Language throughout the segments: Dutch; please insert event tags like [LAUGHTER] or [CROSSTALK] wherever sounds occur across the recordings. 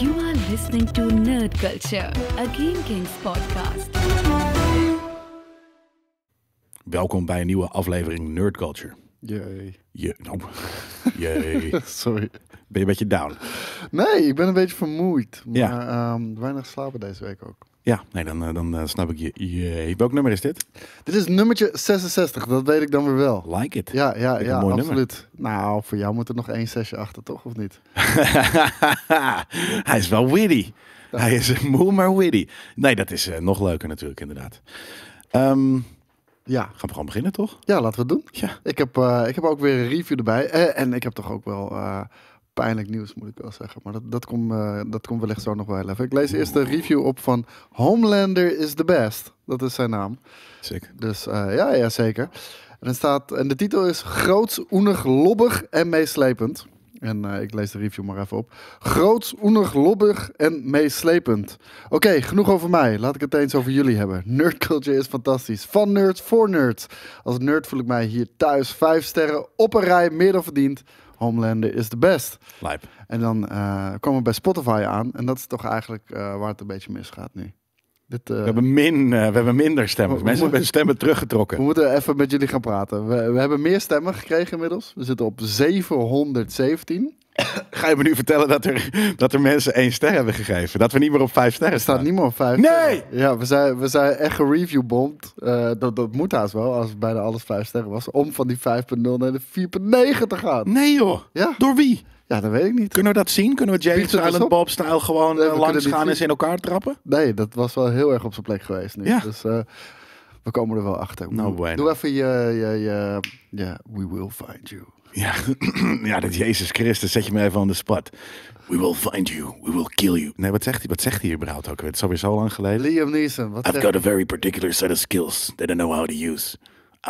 You are listening to Nerd Culture, a Game Kings podcast. Welkom bij een nieuwe aflevering Nerd Culture. Jee. [LAUGHS] Je, nou, [LAUGHS] jee. Ben Sorry. je een beetje down? Nee, ik ben een beetje vermoeid. Maar Ja. ehm, weinig slapen deze week ook. Ja, nee, dan, eh, dan eh, snap ik je. Jee. Welk nummer is dit? Dit is nummertje 66, dat weet ik dan weer wel. Like it. Ja, ja, een ja, mooi absoluut. Nou, voor jou moet er nog één sessie achter, toch? Of niet? [LAUGHS] Hij is wel witty. Hij is een moe, maar witty. Nee, dat is eh, nog leuker natuurlijk, inderdaad. Ehm, Ja, gaan we gewoon beginnen, toch? ja laten we het doen. Ja. Ik heb, eh, ik heb ook weer een review erbij. Eh, en ik heb toch ook wel eh, pijnlijk nieuws, moet ik wel zeggen. Maar dat, dat komt eh, dat komt wellicht zo nog wel even. Ik lees eerst de review op van Homelander is the best. Dat is zijn naam. Sick. Dus eh, ja, ja, zeker. En, er staat, en de titel is Groots, Oenig, Lobbig en Meeslepend. En eh, ik lees de review maar even op. Groots, Oenig, Lobbig en Meeslepend. Oké, genoeg over mij. Laat ik het eens over jullie hebben. Nerdculture is fantastisch. Van nerds voor nerds. Als nerd voel ik mij hier thuis. Vijf sterren op een rij, meer dan verdiend. Homelander is de best. Lijp. En dan eh komen we bij Spotify aan. En dat is toch eigenlijk eh, waar het een beetje misgaat nu. Dit, eh, We hebben, min, eh, we hebben minder stemmen. Hoe- Mensen hoe- hebben stemmen We teruggetrokken. moeten even met jullie gaan praten. We, we hebben meer stemmen gekregen inmiddels. We zitten op 717. Ga je me nu vertellen dat er, dat er mensen één ster hebben gegeven? Dat we niet meer op vijf sterren Er staat staan? niet meer op 5. Nee! Ja, we zijn, we zijn echt gereviewbomd. Eh dat, dat moet haast wel, als bijna alles 5 sterren was. Om van die 5.0 naar de 4.9 te gaan. Nee joh. Ja. Door wie? Ja, dat weet ik niet. Kunnen we dat zien? Kunnen we James Pizza is Silent op. Bob-stijl gewoon Nee, we eh, kunnen langs dit gaan en zien. ze in elkaar trappen? Nee, dat was wel heel erg op zijn plek geweest nu. Ja. Dus eh, we komen er wel achter. Nou, bueno. Doe even je, je, je, je We Will Find You. Ja, [CLEARS THROAT] ja dat Jezus Christus, zet je me even aan de spot. We will find you, we will kill you. Nee, wat zegt hij, wat zegt hij überhaupt ook? Het is alweer zo lang geleden. Liam Neeson, wat I've zegt got a very particular set of skills that I know how to use.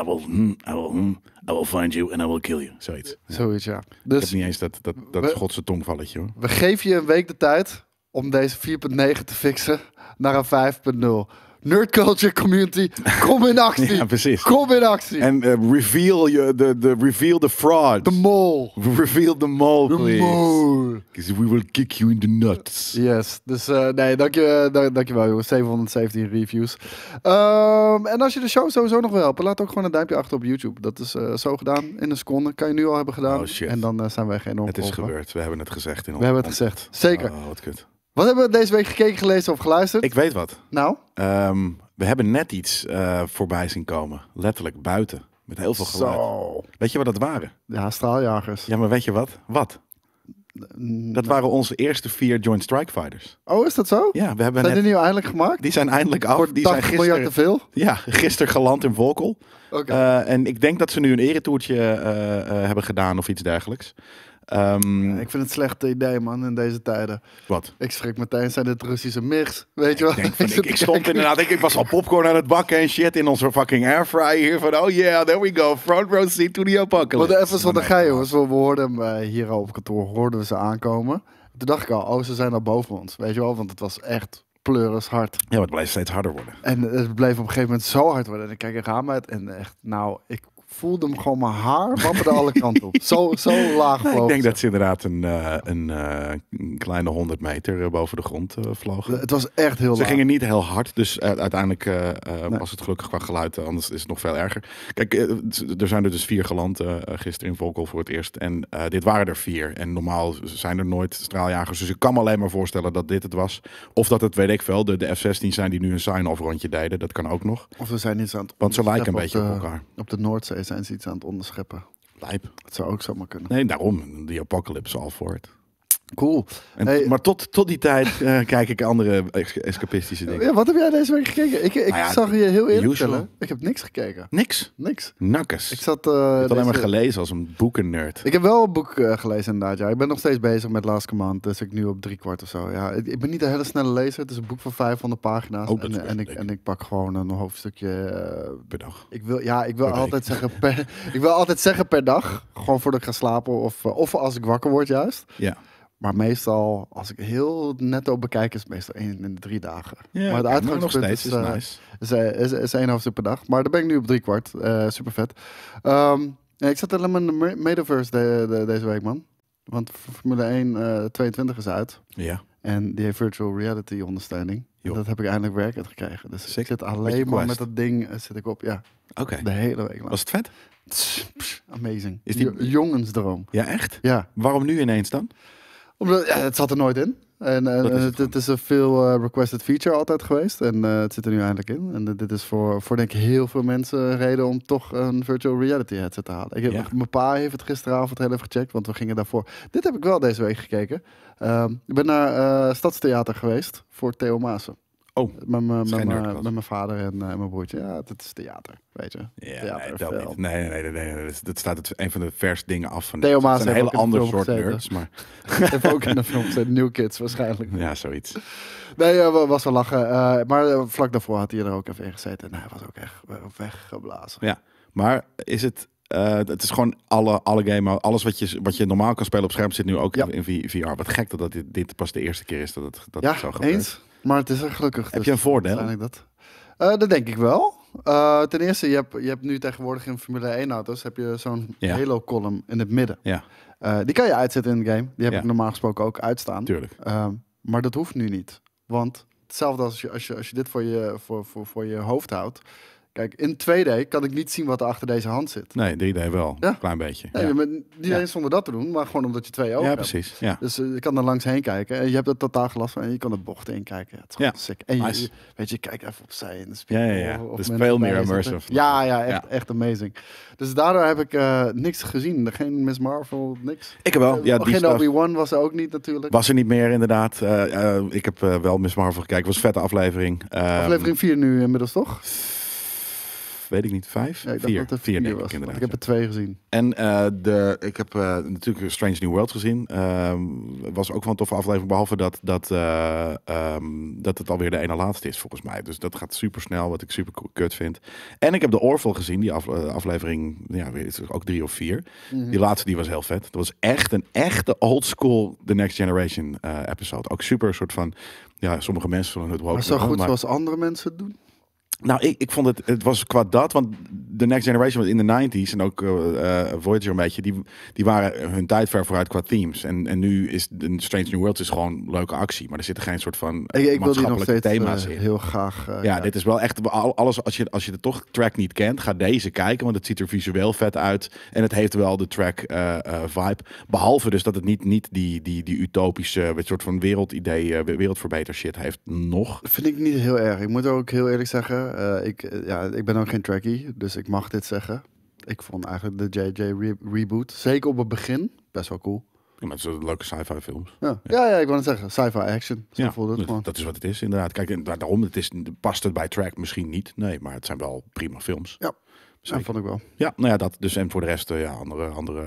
I will, hmm, I will, hmm, I will find you and I will kill you. Zoiets. Ik Zoiets, ja. heb Dus niet eens dat, dat, dat We- Schotse tongvalletje hoor. We geven je een week de tijd om deze 4.9 te fixen naar een 5.0. Nerd Culture Community, [LAUGHS] kom in actie. Ja, precies. Kom in actie. En eh, reveal, je- de de reveal the fraud. de mol. reveal the mole, De please. mol. 'Cause we will kick you in the nuts. Yes, dus eh, nee, dank je, dank, dankjewel jongens. 717 reviews. Ehm, en als je de show sowieso nog wil helpen, laat ook gewoon een duimpje achter op YouTube. Dat is eh, zo gedaan in een seconde. Kan je nu al hebben gedaan. Oh, shit. En dan eh, zijn wij geen enorm Het is geholpen. gebeurd, we hebben het gezegd. In We hebben het gezegd. Zeker. Oh, wat kut. Wat hebben we deze week gekeken, gelezen of geluisterd? Ik weet wat. Nou, Ehm, we hebben net iets eh, voorbij zien komen. Letterlijk buiten. Met heel veel geluid. zo. Weet je wat dat waren? Ja, straaljagers. Ja, maar weet je wat? Wat? Dat waren onze eerste vier Joint Strike Fighters. Oh, is dat zo? Ja, we hebben Zijn net... die nu eindelijk gemaakt? Die zijn eindelijk af. Die zijn 80 miljard te gisteren... veel? Ja, gisteren geland in Volkel. Oké. Eh, en ik denk dat ze nu een eretoertje eh, eh, hebben gedaan of iets dergelijks. Ehm, ik vind het een slecht idee, man, in deze tijden. Wat? Ik schrik meteen, zijn dit Russische mix? Weet je wel? [LAUGHS] Ik, denk [LAUGHS] van, zit ik, ik te stond kijken. inderdaad, ik, ik was al popcorn aan het bakken en shit in onze fucking airfryer hier. Van, oh yeah, there we go, front row seat to the Want apocalypse. even zonder Maar gein, jongens. We we hoorden hem eh, hier al op kantoor, hoorden we ze aankomen. Toen dacht ik al, oh, ze zijn al boven ons. Weet je wel? Want het was echt pleuris hard. Ja, maar het blijft steeds harder worden. En het bleef op een gegeven moment zo hard worden. En ik kijk er raam uit en echt, nou, ik voelde hem gewoon mijn haar wapperde [LAUGHS] alle kanten op. Zo, zo laag Nou, ik vloog denk ze. dat ze inderdaad een, eh, een, eh, een kleine 100 meter eh, boven de grond eh, vlogen. Het was echt heel Ze laag. gingen niet heel hard, dus eh, uiteindelijk eh, eh, Nee. was het gelukkig qua geluid, eh, anders is het nog veel erger. Kijk, eh, z- er zijn er dus vier geland eh, eh, gisteren in Volkel voor het eerst. En eh, dit waren er vier. En normaal zijn er nooit straaljagers. Dus ik kan me alleen maar voorstellen dat dit het was. Of dat het, weet ik veel, de, de F-16 zijn die nu een sign-off rondje deden. Dat kan ook nog. Of we zijn iets aan het Want ze lijken een beetje onderscheppen op de- elkaar. Op de Noordzee zijn ze iets aan het onderscheppen. Lijp. Dat zou ook zomaar kunnen. Nee, daarom. Die apocalypse al voor het. Cool. En, Hey. Maar tot, tot die tijd eh, [LAUGHS] kijk ik andere ex- escapistische dingen. Ja, wat heb jij deze week gekeken? Ik, ik Nou ja, zag je heel eerlijk usual. vertellen. Ik heb niks gekeken. Niks. Niks. Nakkes. Ik Ik zat... eh, heb alleen maar deze- gelezen als een boekennerd. Ik heb wel een boek eh, gelezen inderdaad. Ja. Ik ben nog steeds bezig met Last Command. Dus ik nu op drie kwart of zo. Ja, ik, ik ben niet een hele snelle lezer. Het is een boek van 500 pagina's. Oh, dat is en, best en, ik, dik. en ik pak gewoon een hoofdstukje... eh, Per dag. ik wil, ja, ik wil, Per week. altijd zeggen per, [LAUGHS] ik wil altijd zeggen per dag. Gewoon voordat ik ga slapen. Of, eh, of als ik wakker word juist. Ja. Maar meestal, als ik heel netto bekijk, is het meestal één in de drie dagen. maar het oké, nog uitgangspunt steeds is eh, nice. is, eh, is, is één hoofdstuk per dag. Maar daar ben ik nu op Eh, drie kwart. super vet. Ehm, ik zat helemaal in de me- metaverse de- de- deze week, man. Want Formule 1 eh, 22 is uit. Ja. En die heeft virtual reality ondersteuning. Joh. Dat heb ik eindelijk werkend gekregen. Dus Sick. ik zit Met je alleen maar met Quest. dat ding eh, zit ik op. Ja, Oké. de hele week lang. Was het vet? Tss, pss, amazing. Is die- Jo- Jongensdroom. Ja, echt? Ja. Waarom nu ineens dan? Omdat, ja, het zat er nooit in. En, eh, Dat is het eh, het, het is een veel eh, requested feature altijd geweest. En eh, het zit er nu eindelijk in. En dit- dit is voor, voor denk ik heel veel mensen een reden om toch een virtual reality headset te halen. Ik heb, Ja. Mijn pa heeft het gisteravond heel even gecheckt, want we gingen daarvoor. Dit heb ik wel deze week gekeken. Ehm, ik ben naar eh, Stadstheater geweest voor Theo Maassen. Oh. Met mijn- met geen mijn nerdkast. met mijn vader en, eh, en mijn broertje. Ja, het is theater, weet je. Ja, Theater, nee, dat film. niet. Nee, nee, nee, nee, nee, nee. Dat, dat staat het, een van de vers dingen af. Van Theo Het zijn Maas heeft een ook hele in de andere film soort gezeten. nerds, maar [LAUGHS] Ik heb ook in de film gezeten. New Kids waarschijnlijk. [LAUGHS] ja, zoiets. Nee, eh, wa- was wel lachen. eh, maar eh, vlak daarvoor had hij er ook even in gezeten. En hij was ook echt eh, weggeblazen. Ja, maar is het... eh, het is gewoon alle, alle game, alles wat je, wat je normaal kan spelen op scherm zit nu ook Ja. in V- VR. Wat gek dat, dat dit, dit pas de eerste keer is dat het dat het Ja, zo gebeurt. eens. Maar het is er gelukkig. dus Heb je een voordeel? Waarschijnlijk dat. Eh, dat denk ik wel. Eh, ten eerste, je hebt, je hebt nu tegenwoordig in Formule 1-auto's heb je zo'n Ja. halo-column in het midden. Ja, Eh, die kan je uitzetten in het game. Die heb Ja. ik normaal gesproken ook uitstaan. tuurlijk. Ehm, maar dat hoeft nu niet. Want hetzelfde als je, als je, als je dit voor je, voor, voor, voor je hoofd houdt. Kijk, in 2D kan ik niet zien wat er achter deze hand zit. Nee, 3D wel. Ja. Een klein beetje. Nee, ja. maar niet Ja. eens zonder dat te doen, maar gewoon omdat je twee ogen Ja, hebt. precies. Ja. Dus eh, je kan er langs heen kijken. En je hebt er totaal gelast van. En je kan de bochten in kijken. Ja, het is gewoon Ja, sick. En je- nice. je, weet je, kijk even opzij in de Ja, spiegel. ja, ja. of- of Dus mensen veel meer bij je zitten. immersive. Ja, ja, echt, Ja. echt amazing. Dus daardoor heb ik eh, niks gezien. Geen Miss Marvel, niks. Ik heb wel. Ja, die Geen stuff Obi-Wan was er ook niet natuurlijk. was er niet meer inderdaad. Eh, eh, ik heb eh, wel Miss Marvel gekeken. was een vette aflevering. Eh, Aflevering 4 nu inmiddels, toch? Weet ik niet, vijf? Ja, ik dacht vier. dat er vier, 4 denk ik was. want inderdaad. ik heb er twee gezien. En eh, de, ik heb eh, natuurlijk Strange New World gezien. Ehm, was ook wel een toffe aflevering. Behalve dat, dat, eh, ehm, dat het alweer de ene laatste is, volgens mij. Dus dat gaat super snel, wat ik super ko- kut vind. En ik heb de Orville gezien, die af- eh, aflevering, ja, weet ik, ook drie of vier. Mhm. Die laatste die was heel vet. Dat was echt een echte old school The Next Generation eh, episode. Ook super soort van, ja, sommige mensen zullen het woke Maar zo noemen, goed maar- zoals andere mensen het doen. nou, ik, ik vond het, het was qua dat, want de Next Generation was in de 90s en ook eh, eh, Voyager een beetje, die, die waren hun tijd ver vooruit qua themes. En, en nu is de Strange New World is gewoon leuke actie, maar er zitten geen soort van eh, Ik, ik wil die nog maatschappelijke steeds thema's eh, in. heel graag... eh, Ja, dit is wel echt al- alles. Als je, als je de toch track niet kent, ga deze kijken. Want het ziet er visueel vet uit. En het heeft wel de track eh, eh, vibe. Behalve dus dat het niet, niet die, die, die utopische weet, soort van wereldidee, eh, wereldverbeter shit heeft nog. Vind ik niet heel erg. Ik moet ook heel eerlijk zeggen, eh, ik, eh, ja, ik ben ook geen trackie, dus ik mag dit zeggen. Ik vond eigenlijk de JJ re- reboot, zeker op het begin, best wel cool. Ja, maar het zijn leuke sci-fi films. Ja, ja, ja, ik wou net zeggen, sci-fi action. Zo voelde het dus dat- gewoon. dat is wat het is, inderdaad. Kijk, en da- daarom het is, past het bij track misschien niet. Nee, maar het zijn wel prima films. Ja, dus zeker. dat vond ik wel. Ja, nou ja, dat. Dus en voor de rest, eh, ja, andere, andere.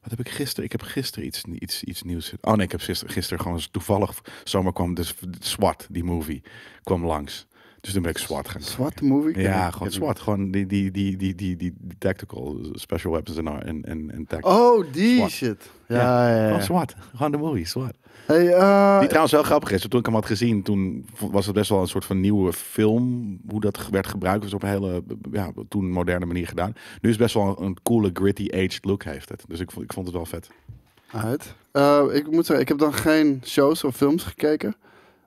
Wat heb ik gisteren? Ik heb gisteren iets, iets, iets nieuws. Oh nee, ik heb gisteren, gisteren gewoon eens toevallig. Zomaar kwam dus SWAT, die movie, kwam langs. Dus toen ben ik SWAT gaan. Zwart movie? kijken. Ja, Ik- gewoon ik- SWAT. Gewoon die, die, die, die, die, die, die tactical special weapons en en en, en tactical. Oh, die SWAT. shit. Ja, ja, ja. Gewoon SWAT. Gewoon de movie, SWAT. Hey, eh, Die trouwens wel grappig is. Toen ik hem had gezien, toen vo- was het best wel een soort van nieuwe film. Hoe dat ge- werd gebruikt, was op een hele, ja, toen moderne manier gedaan. Nu is het best wel een, een coole, gritty, aged look heeft het. Dus ik, vond- ik vond het wel vet. Uit. Eh, ik moet zeggen, ik heb dan geen shows of films gekeken.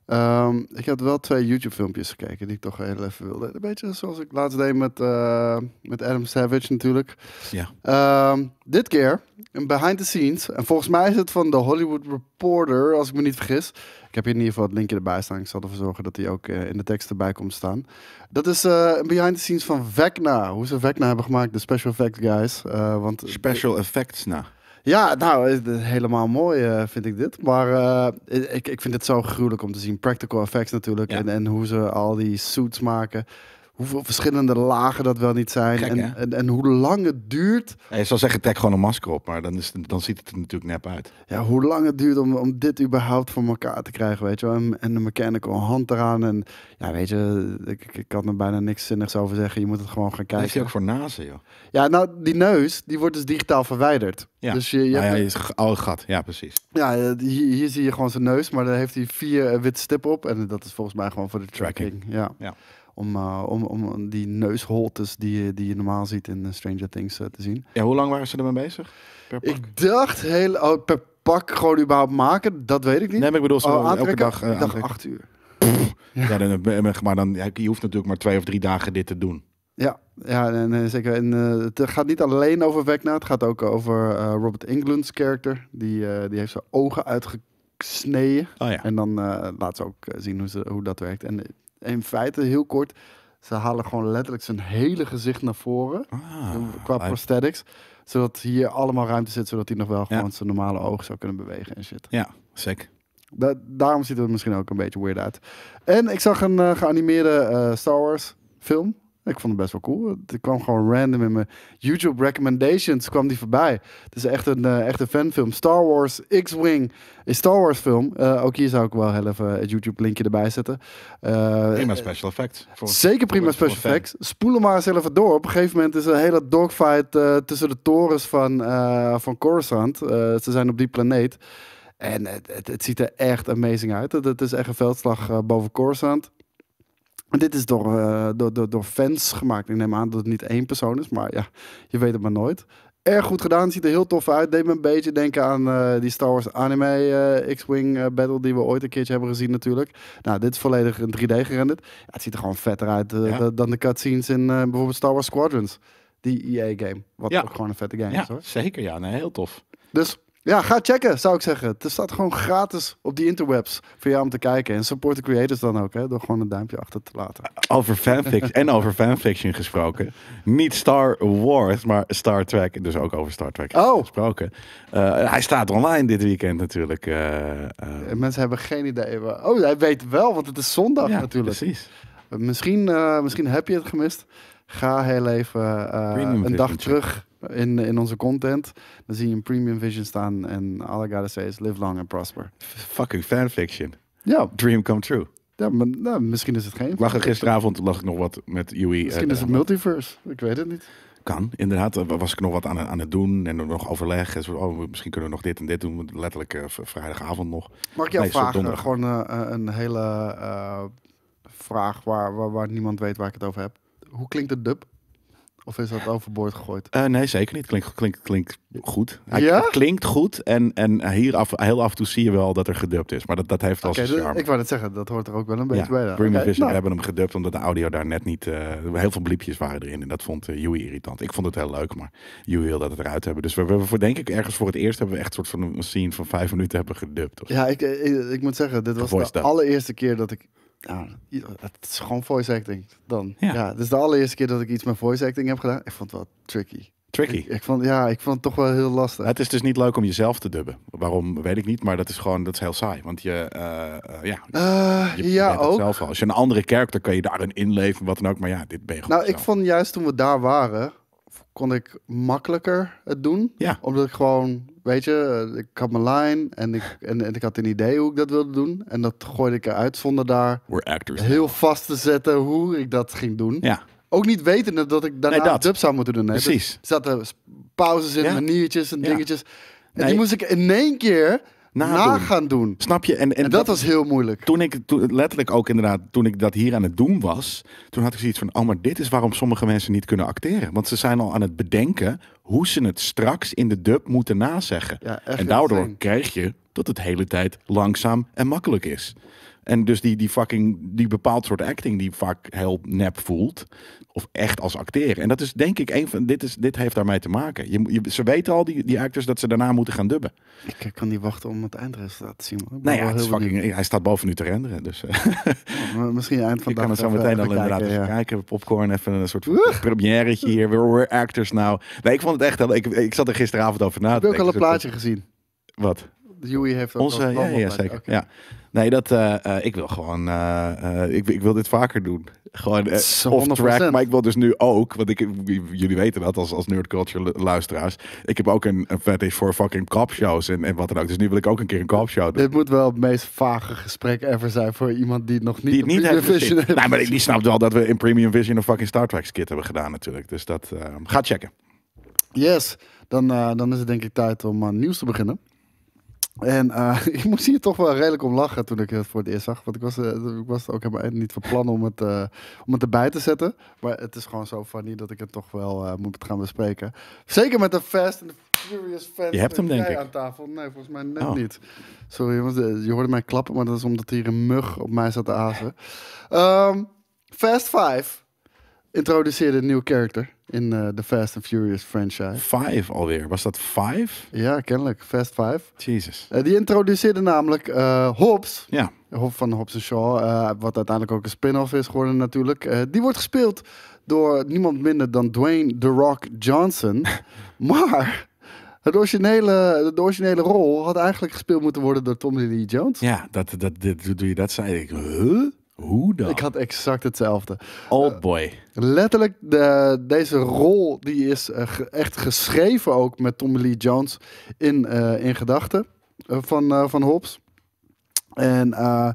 Ehm, ik heb wel twee YouTube-filmpjes gekeken die ik toch heel even wilde. Een beetje zoals ik laatst deed met, eh, met Adam Savage natuurlijk. Ja. Ehm, dit keer een behind the scenes. En volgens mij is het van The Hollywood Reporter, als ik me niet vergis. Ik heb hier in ieder geval het linkje erbij staan. Ik zal ervoor zorgen dat die ook eh, in de tekst erbij komt staan. Dat is eh, een behind the scenes van Vecna. Hoe ze Vecna hebben gemaakt, de special effect guys. Eh, want Special effects, nou. ja, nou, het is helemaal mooi eh, vind ik dit. Maar eh, ik, ik vind het zo gruwelijk om te zien. Practical effects natuurlijk. Ja. En, en hoe ze al die suits maken. Hoeveel verschillende lagen dat wel niet zijn. Gek, en, hè? en, en hoe lang het duurt. Ja, je zou zeggen, trek gewoon een masker op, maar dan, is, het- dan ziet het er natuurlijk nep uit. Ja, hoe lang het duurt om, om dit überhaupt voor elkaar te krijgen, weet je wel. En, en de mechanical hand eraan. En ja, weet je, ik, ik- ik kan er bijna niks zinnigs over zeggen. Je moet het gewoon gaan Dat heeft kijken. hij ook voor nazen, joh. Ja, nou, die neus, die wordt dus digitaal verwijderd. Ja. Dus je, je Nou hebt ja, je is ge- oh, gat. Ja, precies. Ja, eh, hier, hier zie je gewoon zijn neus, maar dan heeft hij vier eh, witte stippen op. En dat is volgens mij gewoon voor de tracking. Ja. Ja. Om, eh, om, om die neusholtes die, je- die je normaal ziet in eh, Stranger Things eh, te zien. Ja, hoe lang waren ze ermee bezig? Per pak? Ik dacht heel... Oh, per pak gewoon überhaupt maken, dat weet ik niet. Nee, maar ik bedoel, zo Oh, elke aantrekken? dag, eh, Ik dacht aantrekken. acht uur. Ja, dan, eh, maar dan, ja, je hoeft natuurlijk maar twee of drie dagen dit te doen. Ja, ja nee, nee, zeker. En eh, het gaat niet alleen over Vecna. Het gaat ook over eh, Robert Englund's karakter. Die, eh, die heeft zijn ogen uitgesneden. Oh ja. En dan eh, laat ze ook eh, zien hoe, ze, hoe dat werkt. En eh, in feite, heel kort, ze halen gewoon letterlijk zijn hele gezicht naar voren. Ah, qua lijp. prosthetics. Zodat hier allemaal ruimte zit, zodat hij nog wel Ja. gewoon zijn normale oog zou kunnen bewegen en shit. ja, sick. Da- daarom ziet het er misschien ook een beetje weird uit. En ik zag een eh, geanimeerde eh, Star Wars film. Ik vond het best wel cool. Het kwam gewoon random in mijn YouTube recommendations kwam die voorbij. Het is echt een, eh, echt een fanfilm. Star Wars X-Wing is Star Wars film. Eh, ook hier zou ik wel heel even het YouTube linkje erbij zetten. Eh, Prima special effects. Voor- Zeker prima voor- voor special een fan. effects. Spoel hem maar eens even door. Op een gegeven moment is er een hele dogfight eh, tussen de torens van, eh, van Coruscant. Eh, ze zijn op die planeet. En het, het, het ziet er echt amazing uit. Het, het is echt een veldslag eh, boven Coruscant. En dit is door, eh, door, door, door fans gemaakt. Ik neem aan dat het niet één persoon is, maar ja, je weet het maar nooit. Erg goed gedaan, ziet er heel tof uit. Deed me een beetje denken aan eh, die Star Wars anime eh, X-Wing eh, battle die we ooit een keertje hebben gezien natuurlijk. Nou, dit is volledig in 3D gerenderd. Ja, het ziet er gewoon vetter uit eh, Ja. dan- dan de cutscenes in eh, bijvoorbeeld Star Wars Squadrons. Die EA-game, wat Ja. ook gewoon een vette game Ja, is hoor. zeker. Ja, nee, heel tof. Dus ja, ga checken, zou ik zeggen. Het staat gewoon gratis op die interwebs voor jou om te kijken. En support de creators dan ook, hè, door gewoon een duimpje achter te laten. Over fanfiction en over fanfiction gesproken. Niet Star Wars, maar Star Trek. Dus ook over Star Trek Oh. gesproken. Eh, hij staat online dit weekend natuurlijk. eh, eh, En mensen hebben geen idee. waar- Oh, hij weet wel, want het is zondag ja, natuurlijk. Precies. Misschien, eh, misschien heb je het gemist. Ga heel even eh, Premium een Vision dag check. terug in, in onze content. Dan zie je een Premium Vision staan. En all I gotta say is live long and prosper. F- Fucking fanfiction. Ja, Dream come true. ja maar, nou, misschien is het geen. Ik lag er gisteravond lag ik nog wat met Yui. eh, Misschien is het multiverse. Ik weet het niet. Kan, inderdaad. Eh, Was ik nog wat aan, aan het doen en nog overleg. En zo, oh, misschien kunnen we nog dit en dit doen. Letterlijk eh, v- vrijdagavond nog. Mag ik jou Nee, is op vragen? donderdag. Gewoon eh, eh, een hele eh, vraag waar, waar, waar niemand weet waar ik het over heb. Hoe klinkt de dub? Of is dat overboord gegooid? Eh, nee, zeker niet. Klinkt, klinkt, klinkt goed. Hij Ja? het klinkt goed. En, en hier af, heel af en toe zie je wel dat er gedubt is. Maar dat, dat heeft wel Oké, zijn dus- charme. ik wou net zeggen, dat hoort er ook wel een beetje ja, bij. dan. Dream Oké, Vision nou, hebben hem gedubt omdat de audio daar net niet... eh, heel veel bliepjes waren erin en dat vond eh, Yui irritant. Ik vond het heel leuk, maar Yui wil dat het eruit hebben. Dus we, we hebben voor, denk ik ergens voor het eerst hebben we echt soort van een scene van vijf minuten hebben gedubt. Of zo. Ja, ik, eh, ik, ik moet zeggen, dit was Voice de dub. allereerste keer dat ik... Ja, i- het is gewoon voice acting dan. Ja. Ja. het is de allereerste keer dat ik iets met voice acting heb gedaan. Ik vond het wel tricky. Tricky. Ik vond, ja, ik vond het toch wel heel lastig. Het is dus niet leuk om jezelf te dubben. Waarom, weet ik niet, maar dat is gewoon dat is heel saai. Want je, eh, eh, ja, Eh, je ja, bent het ook. zelf al. Als je een andere character kan je daarin inleven, wat dan ook. Maar ja, dit ben je gewoon Nou, ik zelf. vond juist toen we daar waren, kon ik makkelijker het doen. Ja. Omdat ik gewoon, weet je, eh, ik had mijn lijn en ik, en, en ik had een idee hoe ik dat wilde doen. En dat gooide ik eruit zonder daar We're actors. heel vast te zetten hoe ik dat ging doen. Ja, Ook niet wetende dat ik daarna Nee, dat. een dub zou moeten doen. Nee, Precies. Er zaten s- pauzes in, Ja. maniertjes en Ja. dingetjes. En Nee. die moest ik in één keer Nadoen. na gaan doen. En, snap je? En, en, dat, was heel moeilijk. Toen ik, toen- letterlijk ook inderdaad, toen ik dat hier aan het doen was, toen had ik zoiets van, oh, maar dit is waarom sommige mensen niet kunnen acteren. Want ze zijn al aan het bedenken hoe ze het straks in de dub moeten nazeggen. Ja, echt en daardoor insane. krijg je dat het hele tijd langzaam en makkelijk is. En dus die, die fucking, die bepaald soort acting die vaak heel nep voelt, of echt als acteren. En dat is denk ik een van, dit, is, dit heeft daarmee te maken. Je, moet- je, ze weten al, die, die actors, dat ze daarna moeten gaan dubben. Ik kan niet wachten om het eindresultaat te zien. Man. Ik ben Nou ja, wel het heel is benieuwd. fucking, hij staat boven nu te renderen, dus... eh. [LAUGHS] Maar Misschien eind van Ik de kan dag het zo even- meteen even al inderdaad dus kijken, even ja. kijken. Popcorn, even een soort van premièretje hier. We're, we're actors now. Nee, ik vond het echt... heel- Ik, ik zat er gisteravond over na Heb te je ook denken. al een Soort plaatje gezien? van- Wat? Joey heeft ook Onze... al een Ja, promo ja, plaatje. zeker. Oké. Ja. Nee, dat... eh, eh, ik wil gewoon... eh, eh, ik, ik wil dit vaker doen. Gewoon eh, Zo, off-track. 100%. Maar ik wil dus nu ook... Want ik, jullie weten dat als, als nerdculture lu- luisteraars. Ik heb ook een, een fetish voor fucking copshows en, en wat dan ook. Dus nu wil ik ook een keer een copshow doen. Dit moet wel het meest vage gesprek ever zijn voor iemand die het nog niet, Die het op niet Premiere heeft gezien. Vision heeft Nee, maar die- die snapt wel dat we in Premium Vision een fucking Star Trek skit hebben gedaan natuurlijk. Dus dat... eh, ga checken. Yes, dan, eh, dan is het denk ik tijd om aan nieuws te beginnen. En eh, [LAUGHS] ik moest hier toch wel redelijk om lachen toen ik het voor het eerst zag. Want ik was, eh, ik was ook helemaal niet van plan om het, eh, om het erbij te zetten. Maar het is gewoon zo funny dat ik het toch wel eh, moet gaan bespreken. Zeker met de Fast and the Furious fans. Je hebt hem, met denk jij ik. aan tafel. Nee, volgens mij net Oh. niet. Sorry jongens, eh, je hoorde mij klappen, maar dat is omdat hier een mug op mij zat te azen. Ehm, Fast Five introduceerde een nieuw character in eh, de Fast and Furious franchise. Five alweer. Was dat five? Ja, kennelijk. Fast Five. Jesus. Eh, die introduceerde namelijk eh, Hobbs. Ja. Hof van Hobbs en Shaw, eh, wat uiteindelijk ook een spin-off is geworden natuurlijk. Eh, die wordt gespeeld door niemand minder dan Dwayne The Rock Johnson. maar het originele, de originele rol had eigenlijk gespeeld moeten worden door Tommy Lee Jones. Ja, dat, dat, dit, hoe doe je dat? Zei ik, huh? Hoe dan? Ik had exact hetzelfde. Old boy. Letterlijk, de, deze rol die is eh, ge- echt geschreven ook met Tommy Lee Jones in, eh, in gedachten eh, van, eh, van Hobbs. En eh,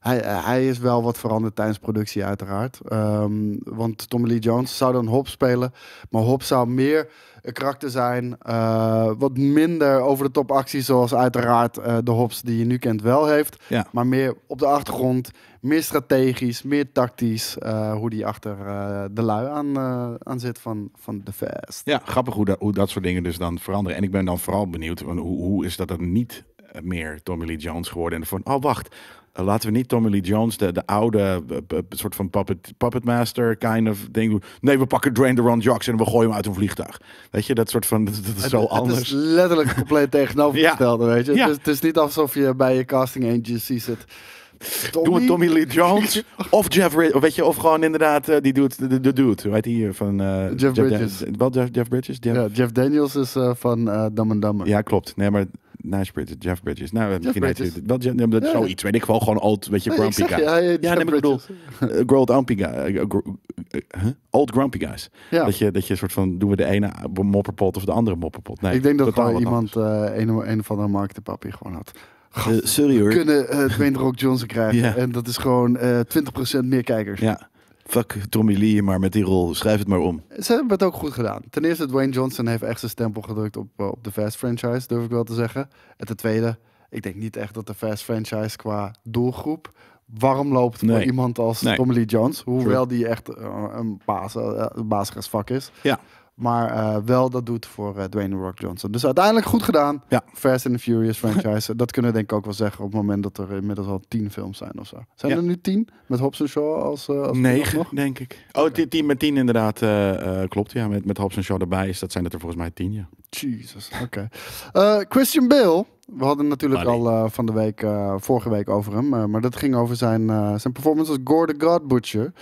hij, hij is wel wat veranderd tijdens productie uiteraard. Ehm, want Tommy Lee Jones zou dan Hobbs spelen. Maar Hobbs zou meer een karakter zijn. eh, wat minder over de top actie zoals uiteraard eh, de Hobbs die je nu kent wel heeft. Ja. Maar meer op de achtergrond. Meer strategisch, meer tactisch. eh, hoe die achter eh, de lui aan, eh, aan zit van, van de Fast. Ja, grappig hoe dat, hoe dat soort dingen dus dan veranderen. En ik ben dan vooral benieuwd, van hoe, hoe is dat dan niet eh, meer Tommy Lee Jones geworden? En van, oh wacht, eh, laten we niet Tommy Lee Jones, de, de oude eh, p- p- soort van puppet, puppet master kind of ding doen. Nee, we pakken Dwayne The Ron Jocks en we gooien hem uit een vliegtuig. Weet je, dat soort van, [LAUGHS] dat, dat is zo het, anders. Het is letterlijk compleet tegenovergestelde, weet je. Ja. Het, is, het is niet alsof je bij je casting agency zit. Doe het Tommy Lee [LAUGHS] Jones of Jeff Ri- of weet je, of gewoon inderdaad, eh, die doet de, de, de dude, weet je, van... eh, Jeff Dan- Bridges. wel Jeff, Jeff Bridges? Jeff- Ja, Jeff Daniels is eh, van eh Dumb and Dumber. Ja, klopt. Nee, maar Nash Bridges, Jeff Bridges. Nou, misschien heet Bridges. hij dat, ja, dat is Ja. zoiets. Weet ik wel, gewoon old, weet je, Nee, ik grumpy zeg guy. je, hij heet ja, nee, Jeff maar ik bedoel, eh, gr- old grumpy guy. eh, gr- eh, huh? Old grumpy guys. Ja. Dat je, dat je soort van, doen we de ene mopperpot of de andere mopperpot. Nee, ik denk dat totaal gewoon wat iemand eh, een, een of andere marketingpapje gewoon had. anders. Eh, sorry hoor. Kunnen eh Dwayne The Rock Johnson krijgen. Ja. En dat is gewoon eh 20% meer kijkers. Ja, fuck Tommy Lee maar met die rol. Schrijf het maar om. Ze hebben het ook goed gedaan. Ten eerste, Dwayne Johnson heeft echt zijn stempel gedrukt op, eh, op de Fast franchise, durf ik wel te zeggen. En ten tweede, ik denk niet echt dat de Fast franchise qua doelgroep warm loopt voor Nee. iemand als Nee. Tommy Lee Jones. Hoewel die echt eh, een, baas, eh, een basisvak is. Ja. Maar eh, wel dat doet voor eh, Dwayne The Rock Johnson. Dus uiteindelijk goed gedaan. Ja. Fast and the Furious franchise. [LAUGHS] dat kunnen we denk ik ook wel zeggen op het moment dat er inmiddels al tien films zijn of zo. Zijn Ja. er nu tien? Met Hobbs en Shaw als, eh als Negen, nog? denk ik. Oh, ti- tien met tien inderdaad. eh, eh, klopt, ja. Met, met Hobbs en Shaw erbij is, dat zijn het er volgens mij tien, ja. Jesus, oké. Eh, Christian Bale. We hadden natuurlijk Buddy. al eh, van de week, eh, vorige week over hem. eh, maar dat ging over zijn, eh, zijn performance als Gore the God Butcher.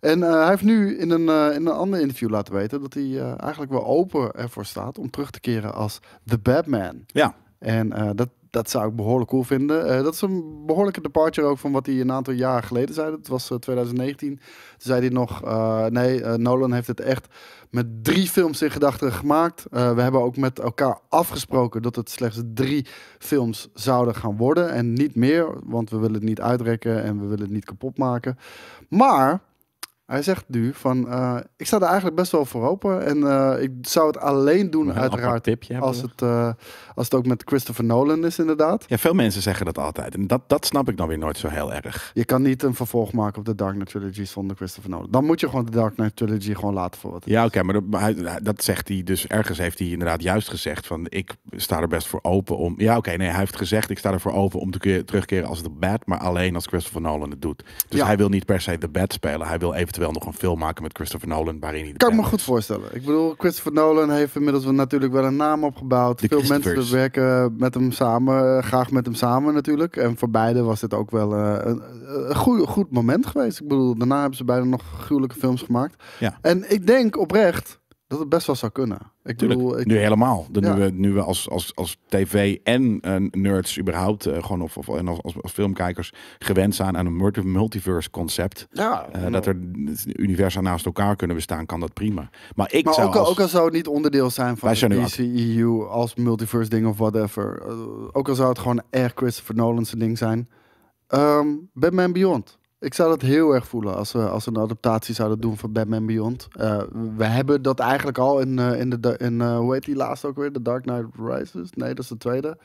En eh, hij heeft nu in een, eh, in een ander interview laten weten dat hij eh, eigenlijk wel open ervoor staat om terug te keren als The Batman. Ja, En eh, dat, dat zou ik behoorlijk cool vinden. Eh, dat is een behoorlijke departure ook van wat hij een aantal jaar geleden zei. Dat was eh, 2019. Toen zei hij nog, eh, nee, eh, Nolan heeft het echt met drie films in gedachten gemaakt. Eh, we hebben ook met elkaar afgesproken dat het slechts drie films zouden gaan worden. En niet meer, want we willen het niet uitrekken en we willen het niet kapot maken. Maar hij zegt nu van, eh, ik sta er eigenlijk best wel voor open. En eh, ik zou het alleen doen een uiteraard apart tipje hebben als we. het, eh, als het ook met Christopher Nolan is, inderdaad. Ja, veel mensen zeggen dat altijd. En dat, dat snap ik dan weer nooit zo heel erg. Je kan niet een vervolg maken op de Dark Knight Trilogy zonder Christopher Nolan. Dan moet je gewoon de Dark Knight Trilogy gewoon laten voor wat. het is. Ja, oké, maar, dat, maar hij- dat zegt hij dus. Ergens heeft hij inderdaad juist gezegd van... ik sta er best voor open om... Ja, oké, nee, hij heeft gezegd... ik sta er voor open om te keer- terugkeren als de Bat... maar alleen als Christopher Nolan het doet. Dus Ja. hij wil niet per se de Bat spelen. Hij wil eventueel nog een film maken met Christopher Nolan... waarin hij de Kan ik me Bat goed is. voorstellen. Ik bedoel, Christopher Nolan heeft inmiddels wel natuurlijk wel een naam opgebouwd. De Veel mensen Christophers. werken met hem samen, eh, graag met hem samen natuurlijk. En voor beide was dit ook wel eh, een, een goe- goed moment geweest. Ik bedoel, daarna hebben ze beide nog gruwelijke films gemaakt. Ja. En ik denk oprecht dat het best wel zou kunnen. Ik Tuurlijk, bedoel, ik, nu helemaal. De, Ja. nu, we, nu we als, als, als tv en eh, nerds überhaupt... eh, gewoon of, of, en als, als, als filmkijkers gewend zijn aan een multi- multiverse concept... ja, Eh, dat er universa naast elkaar kunnen bestaan, kan dat prima. Maar ik Maar zou ook, al- als- ook al zou het niet onderdeel zijn van E Wij zijn nu het DCEU als multiverse ding of whatever. eh, ook al zou het gewoon echt Christopher Nolan's ding zijn. Ehm, Batman Beyond. Ik zou dat heel erg voelen als we, als we een adaptatie zouden doen van Batman Beyond. Eh, we hebben dat eigenlijk al in, eh, in de... da- In, eh, hoe heet die laatste ook weer? The Dark Knight Rises? Nee, dat is de tweede.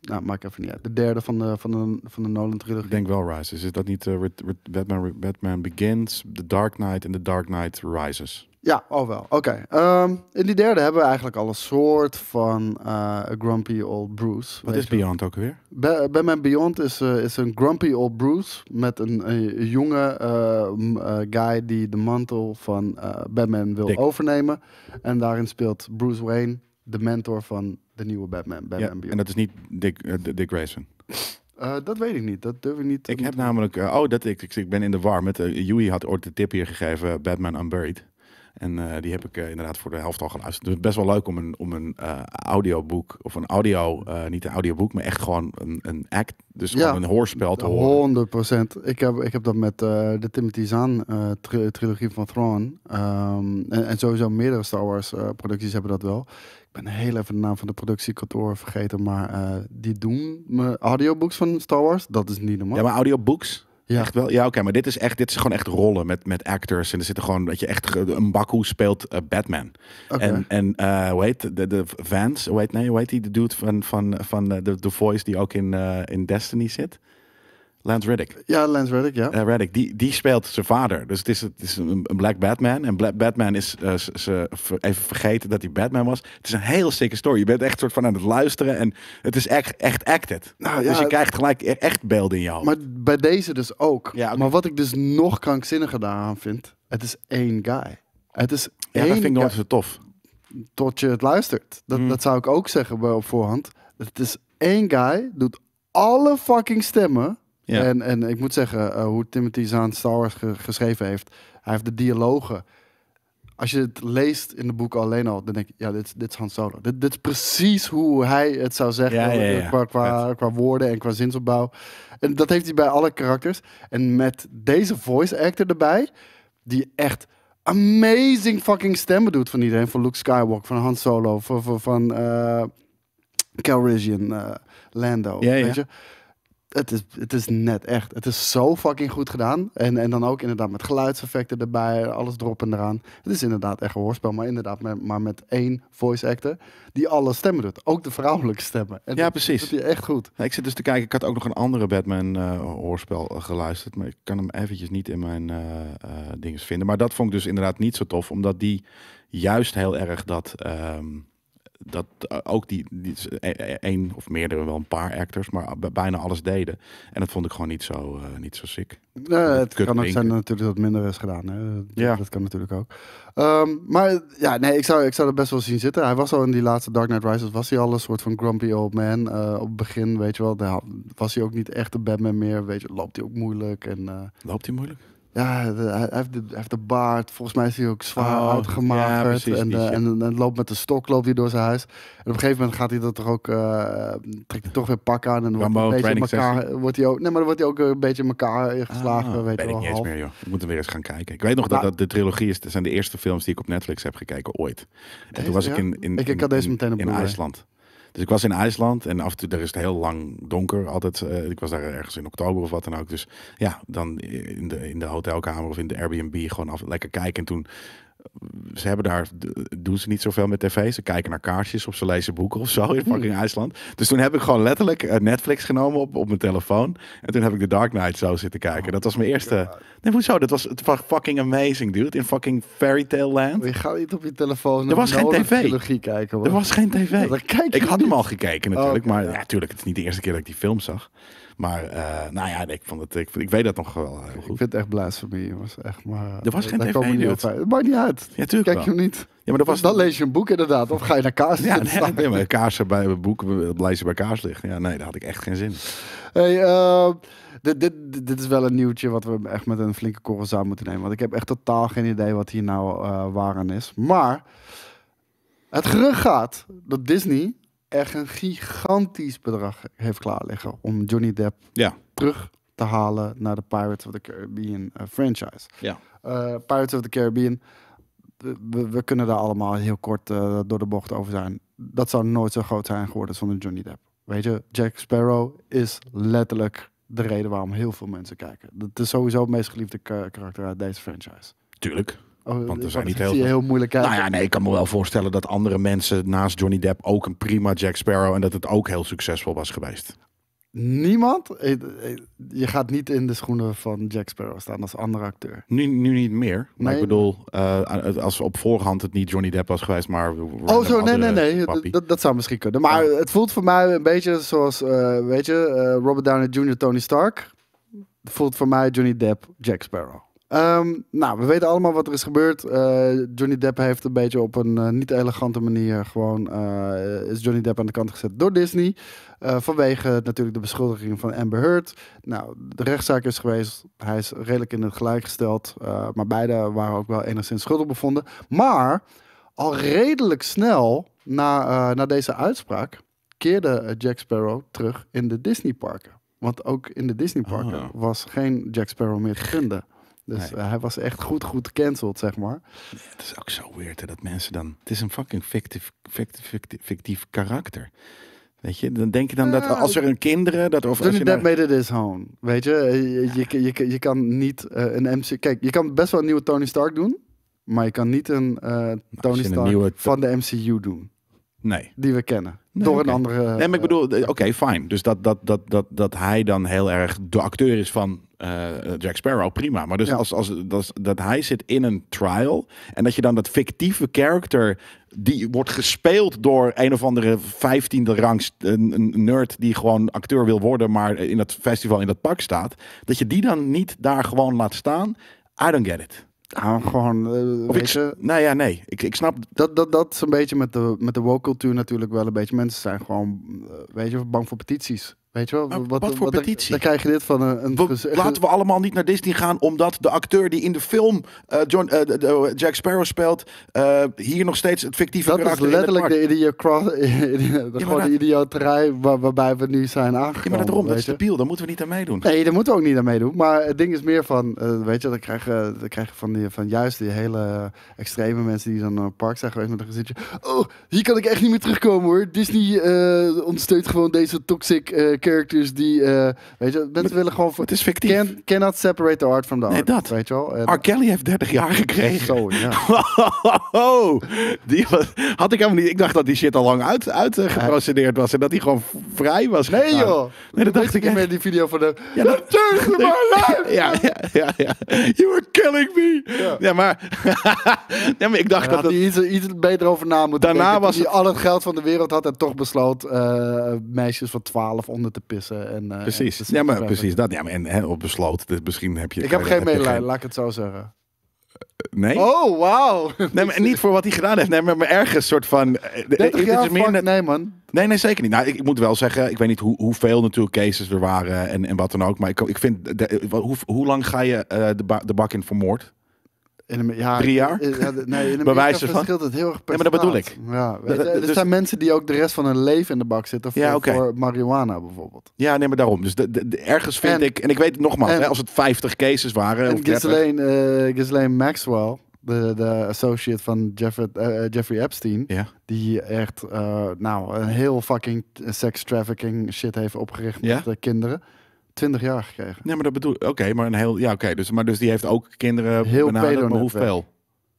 Nou, maakt even niet uit. De derde van de, van de, van de Nolan-trilogie. Ik denk wel Rises. Is dat niet eh, Ret- Ret- Batman, Re- Batman Begins, The Dark Knight en The Dark Knight Rises? Ja, al wel. Oké. Ehm, in die derde hebben we eigenlijk al een soort van eh, grumpy old Bruce. Wat weet is je wel. Beyond ook weer? Ba- Batman Beyond is, eh, is een grumpy old Bruce met een, een jonge eh, m- eh, guy die de mantel van eh, Batman wil Dick. overnemen. En daarin speelt Bruce Wayne de mentor van de nieuwe Batman, Batman Ja, en Beyond. dat is niet Dick, eh, Dick Grayson. Eh, dat weet ik niet, dat durf ik niet. te- Ik heb namelijk, eh, oh, dat, ik, ik, ik ben in de war met, eh, Yui had ooit de tip hier gegeven, eh, Batman Unburied. En eh, die heb ik eh, inderdaad voor de helft al geluisterd. Dus het is best wel leuk om een, om een eh, audioboek, of een audio, eh, niet een audioboek, maar echt gewoon een, een act, dus Ja. gewoon een hoorspel te horen. 100 Ik heb, ik heb dat met eh, de Timothy Zahn eh, tri- trilogie van Thrawn. Ehm, en, en sowieso meerdere Star Wars eh, producties hebben dat wel. Ik ben heel even de naam van de productiekantoor vergeten. Maar eh, die doen me audiobooks van Star Wars. Dat is niet normaal. Ja, maar audiobooks? Ja. Echt wel? Ja, oké, maar dit is echt, dit is gewoon echt rollen met, met actors. En er zitten gewoon, dat je echt, ge- een Baku speelt eh, Batman. Oké. En, en eh, hoe heet de, de Vance, hoe heet, nee, hoe heet die, de dude van, van, van eh, de, de voice die ook in, eh, in Destiny zit? Lance Reddick. ja, Lance Reddick, ja. Eh, Reddick, die, die speelt zijn vader. Dus het is, het is een, een Black Batman. En Black Batman is eh, ze- ze ver- even vergeten dat hij Batman was. Het is een heel sikke story. Je bent echt soort van aan het luisteren. En het is echt, echt acted. Nou, dus ja, je krijgt gelijk e- echt beelden in je hoofd. Maar bij deze dus ook. Ja, oké. Maar wat ik dus nog krankzinniger daaraan vind. Het is één guy. Het is ja, één dat vind ik guy. nooit zo tof. tot je het luistert. Dat, dat zou ik ook zeggen bij- op voorhand. Het is één guy, doet alle fucking stemmen. Ja. En, en ik moet zeggen, eh, hoe Timothy Zahn Star Wars ge- geschreven heeft. Hij heeft de dialogen. Als je het leest in de boeken alleen al, dan denk je, ja, dit, is- dit is Han Solo. Dit, dit is precies hoe hij het zou zeggen eh, Ja, ja, ja. Qua, qua, qua woorden en qua zinsopbouw. En dat heeft hij bij alle karakters. En met deze voice actor erbij, die echt amazing fucking stemmen doet van iedereen. Van Luke Skywalker, van Han Solo, van, van, van eh, Calrissian, eh, Lando. Ja, ja. Weet je? Het is, het is net echt. Het is zo fucking goed gedaan. En, en dan ook inderdaad met geluidseffecten erbij, alles erop en eraan. Het is inderdaad echt een hoorspel, maar inderdaad met, maar met één voice actor die alle stemmen doet. Ook de vrouwelijke stemmen. En Ja, dat- precies. Dat doet hij echt goed. Nou, ik zit dus te kijken, ik had ook nog een andere Batman eh, hoorspel eh, geluisterd, maar ik kan hem eventjes niet in mijn eh eh, dinges vinden. Maar dat vond ik dus inderdaad niet zo tof, omdat die juist heel erg dat, ehm, dat eh, ook die, die e, één of meerdere, wel een paar actors, maar b- bijna alles deden. En dat vond ik gewoon niet zo, eh, niet zo sick. Nee, Eh, het Kut kan ook ding. zijn natuurlijk dat het minder is gedaan. Hè. Dat, Ja. dat kan natuurlijk ook. Ehm, maar ja, nee, ik zou, ik zou dat best wel zien zitten. Hij was al in die laatste Dark Knight Rises, was hij al een soort van grumpy old man. eh, op het begin, weet je wel, daar was hij ook niet echt de Batman meer. Weet je, loopt hij ook moeilijk. En eh, Loopt hij moeilijk? ja, de- hij, hij heeft de, hij heeft de baard. Volgens mij is hij ook zwaar Oh, ja, uitgemagerd. precies, en, die eh, shit. en, en loopt met de stok loopt hij door zijn huis. En op een gegeven moment gaat hij dat toch ook, eh, trekt hij toch weer pak aan. En wordt, Rambo, hij een beetje in training elkaar, wordt, hij ook, nee, maar dan wordt hij ook een beetje in elkaar geslagen. Ah, weet je weet ik wel, niet eens half. meer, joh. Ik moet er weer eens gaan kijken. Ik weet nog dat, Nou. dat de trilogie is, dat zijn de eerste films die ik op Netflix heb gekeken ooit. En Deze, toen was ik ja? in, in, Ik- ik in- had deze in- meteen op in Blu-ray. IJsland. Dus ik was in IJsland en af en toe, daar is het heel lang donker altijd. eh, ik was daar ergens in oktober of wat dan ook. Dus ja, dan in de, in de hotelkamer of in de Airbnb gewoon af, lekker kijken. En toen, ze hebben daar, doen ze niet zoveel met tv. Ze kijken naar kaartjes of ze lezen boeken of zo Hmm. in fucking IJsland. Dus toen heb ik gewoon letterlijk eh, Netflix genomen op, op mijn telefoon. En toen heb ik The Dark Knight zo zitten kijken. dat was mijn Oh eerste... Nee, hoezo? Dat was het was fucking amazing, dude. In fucking fairy tale land. Je gaat niet op je telefoon Er was naar geen Nolan's tv. trilogie kijken. Oh hoor. Er was geen tv. Dan kijk ik je had hem niet. al gekeken natuurlijk, Oh, oké, maar ja. ja, natuurlijk, het is niet de eerste keer dat ik die film zag. Maar eh, nou ja, ik, vond het, ik, ik weet dat nog wel heel Ik goed. vind het echt blasphemy, jongens. Echt, maar, eh, Er was geen daar tv, komen we niet dude. uit. Het maakt niet uit. Ja, tuurlijk Kijk wel. je hem niet. Ja, maar dat was dan lees je een boek inderdaad. Of ga je naar kaas [LAUGHS] Ja, zitten [LAUGHS] staan. nee, nee, maar kaarsen bij boeken, blijzen bij kaars liggen. Ja, nee, daar had ik echt geen zin. in. Hey, eh, dit, dit, dit- dit is wel een nieuwtje wat we echt met een flinke korrel zout moeten nemen. Want ik heb echt totaal geen idee wat hier nou eh, waar aan is. Maar het gerucht gaat dat Disney echt een gigantisch bedrag heeft klaar liggen om Johnny Depp Ja. terug te halen naar de Pirates of the Caribbean eh, franchise. Ja. Eh, Pirates of the Caribbean, we- we, we kunnen daar allemaal heel kort eh, door de bocht over zijn. Dat zou nooit zo groot zijn geworden zonder Johnny Depp. Weet je, Jack Sparrow is letterlijk de reden waarom heel veel mensen kijken. Dat is sowieso het meest geliefde ka- karakter uit deze franchise. Tuurlijk. Oh, Want er zijn ik niet zie heel je veel- heel moeilijk kijken. Nou ja, nee, ik kan me wel voorstellen dat andere mensen naast Johnny Depp ook een prima Jack Sparrow en dat het ook heel succesvol was geweest. Niemand. eh, eh, Je gaat niet in de schoenen van Jack Sparrow staan als andere acteur. Nu, nu niet meer. Maar Nee. ik bedoel, eh, als op voorhand het niet Johnny Depp was geweest, maar. Oh, zo, nee, nee, nee. D- Dat, dat zou misschien kunnen. Maar het voelt voor mij een beetje zoals, eh, weet je, eh, Robert Downey Jr., Tony Stark. Voelt voor mij Johnny Depp, Jack Sparrow. Ehm, nou, we weten allemaal wat er is gebeurd. Eh, Johnny Depp heeft een beetje op een eh, niet elegante manier gewoon eh, is Johnny Depp aan de kant gezet door Disney. Eh, vanwege natuurlijk de beschuldigingen van Amber Heard. Nou, de rechtszaak is geweest. Hij is redelijk in het gelijk gesteld. eh, maar beide waren ook wel enigszins schuldig bevonden. Maar al redelijk snel na, eh, na deze uitspraak keerde eh, Jack Sparrow terug in de Disneyparken. Want ook in de Disneyparken Ah. was geen Jack Sparrow meer te vinden. Dus Nee. eh, hij was echt goed, goed gecanceld, zeg maar. Het is ook zo weird hè, dat mensen dan. Het is een fucking fictief, fictief, fictief, fictief karakter. Weet je, dan denk je dan dat Ja, als er een kinderen. Dat, of als Johnny je Depp nou- made it his own. Weet je, Eh, je, je, je, je kan niet eh, een MC... Kijk, je kan best wel een nieuwe Tony Stark doen. Maar je kan niet een eh, als Tony je een Stark nieuwe- van de MCU doen. Nee. Die we kennen. Nee, Door oké. een andere... Nee, maar ik eh, bedoel, eh, oké, fijn. Dus dat, dat, dat, dat, dat hij dan heel erg de acteur is van eh, Jack Sparrow, prima. Maar dus Ja. als, als, dat, dat hij zit in een trial en dat je dan dat fictieve character, die wordt gespeeld door een of andere vijftiende rangs eh, n- n- nerd die gewoon acteur wil worden, maar in dat festival in dat pak staat, dat je die dan niet daar gewoon laat staan, I don't get it. ja, gewoon, eh, Of weet ik, s- je... nou ja, nee, ik, ik snap Dat, dat, dat is een beetje met de, met de woke cultuur natuurlijk wel een beetje. Mensen zijn gewoon, eh, weet je, bang voor petities. Weet je wel? Maar wat Ah, voor petitie? Dan krijg je dit van een... een We- gez- laten we allemaal niet naar Disney gaan, omdat de acteur die in de film eh, John, eh, de- de- Jack Sparrow speelt, eh, hier nog steeds het fictieve [LAUGHS] Dat is karakter in het letterlijk park- de idioot [LAUGHS] cross, gewoon dat- de idioterij waar, waarbij we nu zijn Ja, aangekomen. maar daarom, dat Oh, weet is de je. piel, daar moeten we niet aan meedoen. Nee, daar moeten we ook niet aan meedoen. Maar het ding is meer van, eh, weet je, dan krijg, je- dan krijg je van, die, van juist die hele extreme mensen die dan naar het park zijn geweest met een gezichtje. Oh, hier kan ik echt niet meer terugkomen hoor. Disney eh ondersteunt gewoon deze toxic eh, characters die, eh, weet je, mensen willen gewoon... Voor, Het is fictief. can, cannot separate the art from the Nee, art, dat. weet je wel. En- R. Kelly heeft 30 jaar gekregen. Oh, Zo, [LAUGHS] ja. die was, had ik helemaal niet. Ik dacht dat die shit al lang uit, uit eh, geprocedeerd was en dat hij gewoon v- vrij was. Nee gegaan. joh, Nee, dat dacht ik niet echt. meer die video van de... Ja, [LAUGHS] dat- [LAUGHS] Terug naar mijn lijf! Ja, ja, ja, ja. You were killing me. Ja, Ja. maar, [LAUGHS] nee, maar ik dacht Hij dat het had hij iets, iets beter over na moeten Daarna denken, was toen het- hij al het geld van de wereld had en toch besloot eh, meisjes van 12 onder te pissen. En, eh, Precies. en te ja, maar zeggen. precies dat. Ja, maar en, en op besloot. Dus misschien heb je. Ik heb geen heb je medelijden, laat ik het zo zeggen. Nee. Oh, wauw. [LAUGHS] Nee, maar niet voor wat hij gedaan heeft. Nee, maar maar ergens soort van. eh, het 30 is jaar, meer fuck, net- nee man. nee, nee, zeker niet. Nou, ik, ik moet wel zeggen, ik weet niet hoe, hoeveel natuurlijk cases er waren en, en wat dan ook. Maar ik, ik vind, de- eh, hoe, hoe lang ga je eh, de, ba- de bak in vermoord? In Amer- ja, Drie jaar? eh, [LAUGHS] Ja, de- nee, in Bij Amerika wijze van. verschilt het heel erg per Ja, maar dat bedoel staat. Ja, weet Dat- je, er dus- zijn mensen die ook de rest van hun leven in de bak zitten voor, Ja, oké. voor marihuana bijvoorbeeld. Ja, nee, maar daarom. Dus de, de- de- ergens vind En- ik, en ik weet het nogmaals, en- hè, als het 50 cases waren. of En 30. Ghislaine, eh, Ghislaine Maxwell, de, de associate van Jeffrey, eh, Jeffrey Epstein, Ja. Die echt, eh, nou, een heel fucking sex trafficking shit heeft opgericht Ja? met eh, kinderen. 20 jaar gekregen. Nee, maar dat bedoel Oké, maar een heel. Ja, oké. dus, maar dus die heeft ook kinderen. Heel benaderd, maar pedo-netwerk. hoeveel?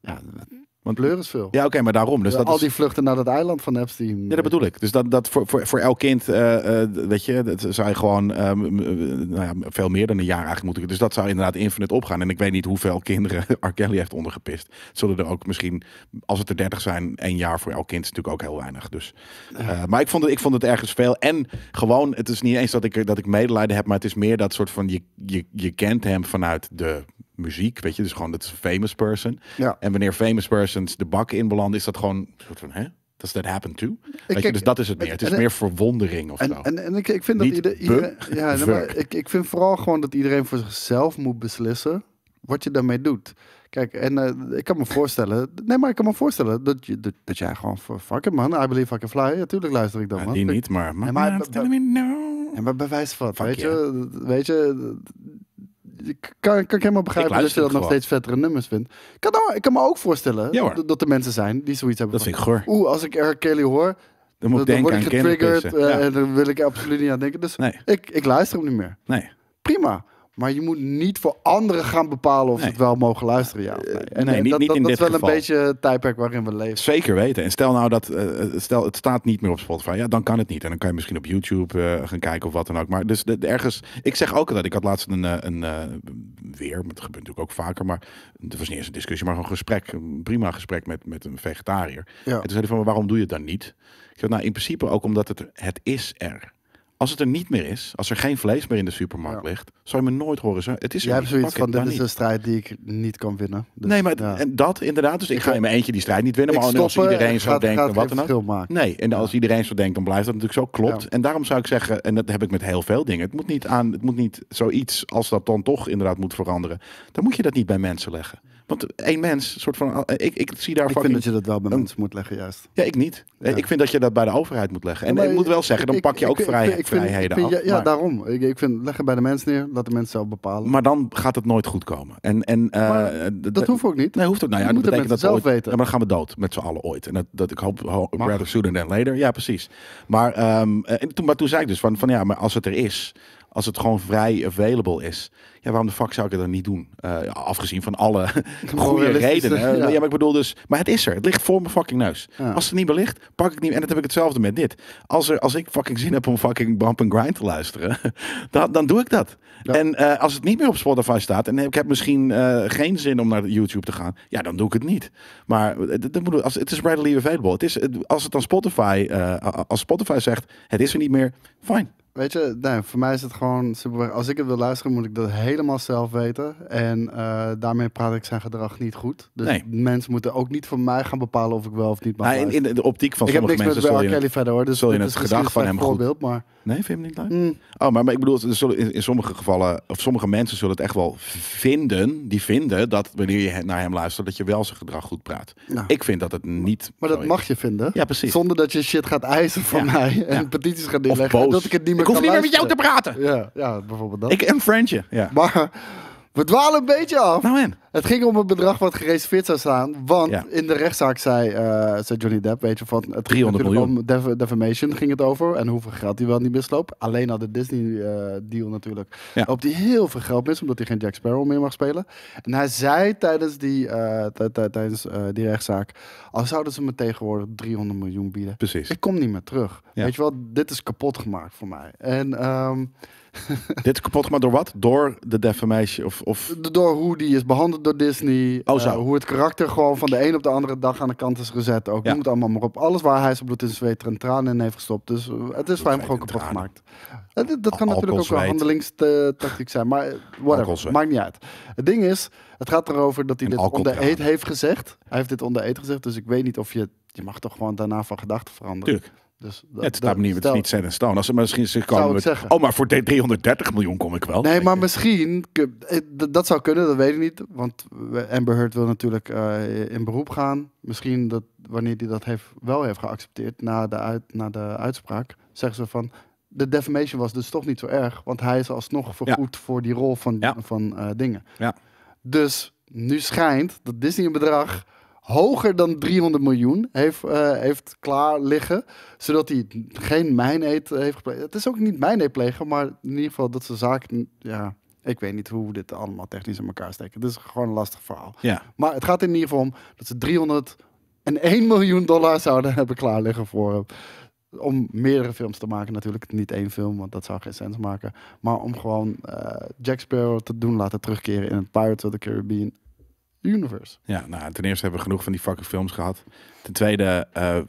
Ja, Want, ja, pleur is veel. oké, maar daarom. Dus dat Al is, die vluchten naar dat eiland van Epstein. Ja, dat bedoel ik. Dus dat, dat voor, voor, voor elk kind, eh, eh, weet je, dat zou je gewoon ehm, m- m- nou ja, veel meer dan een jaar eigenlijk moeten. Dus dat zou inderdaad infinite opgaan. En ik weet niet hoeveel [LAUGHS] kinderen R. Kelly heeft ondergepist. Het Zullen er ook misschien, als het er 30 zijn, één jaar voor elk kind is natuurlijk ook heel weinig. Dus, eh, maar ik vond, het, ik vond het ergens veel. En gewoon, het is niet eens dat ik, er- dat ik medelijden heb, maar het is meer dat soort van, je, je, je kent hem vanuit de muziek, weet je. Dus gewoon, dat is een famous person. Ja. En wanneer famous persons de bak in belanden, is dat gewoon een soort van, hè? Does that happen too? Weet je, kijk, dus dat is het meer. Het is en- meer verwondering of zo. En, en, en ik, ik vind dat Niet ieder, bu- iedereen- ja, nee, maar werk. ik, ik vind vooral gewoon dat iedereen voor zichzelf moet beslissen wat je daarmee doet. Kijk, en eh, ik kan me voorstellen, nee, maar ik kan me voorstellen dat, je, dat, dat jij gewoon voor fuck it man, I believe I can fly. Ja, tuurlijk luister ik dan Ja, man. Nou, die Ik- niet, maar... maar- maar, maar- Ja, maar bewijs van, Fuck weet, yeah. je, weet je, ik kan, kan ik helemaal begrijpen dat je luister dat het nog gewoon. steeds vettere nummers vindt. Ik kan, nou- ik kan me ook voorstellen Ja, hoor. dat- dat er mensen zijn die zoiets hebben Dat vind ik goor. Oeh, als ik R. Kelly hoor, Dan moet dan, ik dan word denken ik aan kinderpissen. getriggerd eh, Ja. en dan wil ik absoluut niet aan denken. Dus Nee, ik, ik luister hem niet meer. nee. Prima. Maar je moet niet voor anderen gaan bepalen of ze Nee. het wel mogen luisteren, ja of nee. Eh, nee, niet- dat, niet dat, in dat dit is wel geval. een beetje het tijdperk waarin we leven. Zeker weten. En stel nou dat eh, stel, het staat niet meer op Spotify. Ja, dan kan het niet. En dan kan je misschien op YouTube eh, gaan kijken of wat dan ook. Maar dus de- de- ergens. Ik zeg ook dat ik had laatst een, eh, een eh, weer. maar Het gebeurt natuurlijk ook vaker. Maar het was niet eens een discussie, maar een gesprek. Een prima gesprek met, met een vegetariër. Ja. En toen zei hij van maar waarom doe je het dan niet? Ik zeg nou in principe ook omdat het, er- het is er. Als het er niet meer is, als er geen vlees meer in de supermarkt Ja. ligt, zou je me nooit horen zeggen. Het is er Jij hebt niet. zoiets Fuck it, van, dit maar is niet. een strijd die ik niet kan winnen. Dus, Nee, maar d- ja. en dat inderdaad. Dus ik, ga in mijn eentje die strijd niet winnen. Ik Maar als stoppen, iedereen het zo gaat- denkt, gaat en geen wat dan ook. verschil maken. Nee, en als iedereen zo denkt, dan blijft dat natuurlijk zo. Klopt. Ja. En daarom zou ik zeggen, en dat heb ik met heel veel dingen. Het moet niet aan, het moet niet zoiets als dat dan toch inderdaad moet veranderen. Dan moet je dat niet bij mensen leggen. Want één mens, soort van, ik, ik zie daar Ik vind fucking- dat je dat wel bij een- mensen moet leggen, juist. Ja, ik niet. Ik vind dat je dat bij de overheid moet leggen. En Ja, maar ik moet wel zeggen, dan ik- pak je ik- ook ik- ik- vrij- ik vind- vrijheden ik vind- af. Ja, ja, maar, daarom. Ik, ik vind, leg het bij de mensen neer, laat de mensen zelf bepalen. maar dan gaat het nooit goed komen. En, en, eh, Maar d- dat d- hoeft ook niet. Nee, hoeft ook. Nou ja, Dat dat moeten betekent dat we mensen ooit, zelf weten. Ja, maar dan gaan we dood met z'n allen ooit. En dat, dat ik hoop, ho- Mag. rather sooner than later. Ja, precies. Maar, ehm, eh, en toen, maar toen zei ik dus van, van ja, maar als het er is, als het gewoon vrij available is, ja, waarom de fuck zou ik het dan niet doen? Eh, afgezien van alle goede Moralistische, redenen. Eh, ja. ja. maar ik bedoel dus, maar het is er. Het ligt voor mijn fucking neus. Ja. Als het niet meer ligt, pak ik het niet. En dat heb ik hetzelfde met dit. Als, er, als ik fucking zin heb om fucking bump and grind te luisteren, [LAUGHS] dan, dan doe ik dat. Ja. En eh, als het niet meer op Spotify staat en ik heb misschien eh, geen zin om naar YouTube te gaan, ja, dan doe ik het niet. Maar eh, dat- dat moet, als, het is readily available. Het is, het- als het dan Spotify, eh, a- a- als Spotify zegt, het is er niet meer, fijn. Weet je, nee, voor mij is het gewoon simpelweg, als ik het wil luisteren, moet ik dat helemaal zelf weten. En eh, daarmee praat ik zijn gedrag niet goed. Dus Nee. mensen moeten ook ook niet van mij gaan bepalen of ik wel of niet mag Maar in, luisteren. in de optiek van ik heb sommige niks mensen met R. zul je... Kelly verder hoor, dus zul je dit het is misschien gedrag een van hem slecht goed- voorbeeld, maar... Nee, vind je hem niet leuk? mm, Oh, maar, maar ik bedoel, er zullen in, in sommige gevallen, of sommige mensen zullen het echt wel vinden, die vinden dat wanneer je he- naar hem luistert, dat je wel zijn gedrag goed praat. Nou. Ik vind dat het niet. maar zo dat is. mag je vinden. Ja, precies. Zonder dat je shit gaat eisen van Ja, mij en ja. petities gaat Of neerleggen. boos. en Dat ik het niet meer hoef kan niet meer met jou te luisteren. praten. Ja, ja, bijvoorbeeld dat. Ik en friendje. Ja. Maar we dwalen een beetje af. Nou en? Het ging om het bedrag wat gereserveerd zou staan. Want Ja. in de rechtszaak zei, eh, zei Johnny Depp, weet je, van het 300 natuurlijk miljoen. om def- defamation ging het over. En hoeveel geld hij wel niet misloop. Alleen had de Disney-deal natuurlijk. Ja. Op die heel veel geld mis, omdat hij geen Jack Sparrow meer mag spelen. En hij zei tijdens die, eh, tijd- tijd- tijdens, eh, die rechtszaak, al zouden ze me tegenwoordig 300 miljoen bieden. [LAUGHS] Precies. Ik kom niet meer terug. Ja. Weet je wel, dit is kapot gemaakt voor mij. En ehm, Dit is kapot gemaakt door wat? Door de defamation of, of D- Door hoe die is behandeld door Disney. Oh, eh, zo. hoe het karakter gewoon van de een op de andere dag aan de kant is gezet. Ook Ja. noem het allemaal maar op. Alles waar hij zijn bloed in zweet en tranen in heeft gestopt. Dus eh, het is voor hem en gewoon kapot tranen. gemaakt. Eh, dit- dat kan Al- natuurlijk ook alcohol, een zweet. handelingstactiek zijn. Maar eh, Alcohol, whatever, zweet. maakt niet uit. Het ding is, het gaat erover dat hij En dit alcohol, onder eet tranen. heeft gezegd. Hij heeft dit onder eet gezegd. Dus ik weet niet of je... Je mag toch gewoon daarna van gedachten veranderen. Tuurlijk. Dus dat- Ja, het dat- staat me niet, het is stel- niet set in stone. Als ze misschien zich Zou ik komen met, zeggen. oh, maar voor de 330 miljoen kom ik wel. Nee, Weet maar je. misschien. kun- eh, d- Dat zou kunnen, dat weet ik niet. Want we- Amber Heard wil natuurlijk eh, in beroep gaan. Misschien dat wanneer hij dat heeft, wel heeft geaccepteerd na de, uit, na de uitspraak, zeggen ze van. De defamation was dus toch niet zo erg, want hij is alsnog vergoed voor die rol van, Ja. van eh, dingen. Ja. Dus nu schijnt dat Disney een bedrag hoger dan 300 miljoen heeft, eh, heeft klaar liggen, zodat hij geen mijneet heeft gepleegd. Het is ook niet mijneet plegen, maar in ieder geval dat ze zaak, ja, ik weet niet hoe dit allemaal technisch in elkaar steken. Het is gewoon een lastig verhaal. Ja, Maar het gaat in ieder geval om dat ze 301 miljoen dollar zouden hebben klaar liggen voor hem. Om meerdere films te maken natuurlijk. Niet één film, want dat zou geen sens maken. Maar om gewoon eh, Jack Sparrow te doen laten terugkeren in het Pirates of the Caribbean universe. ja nou, ten eerste hebben we genoeg van die fucking films gehad. Ten tweede, eh,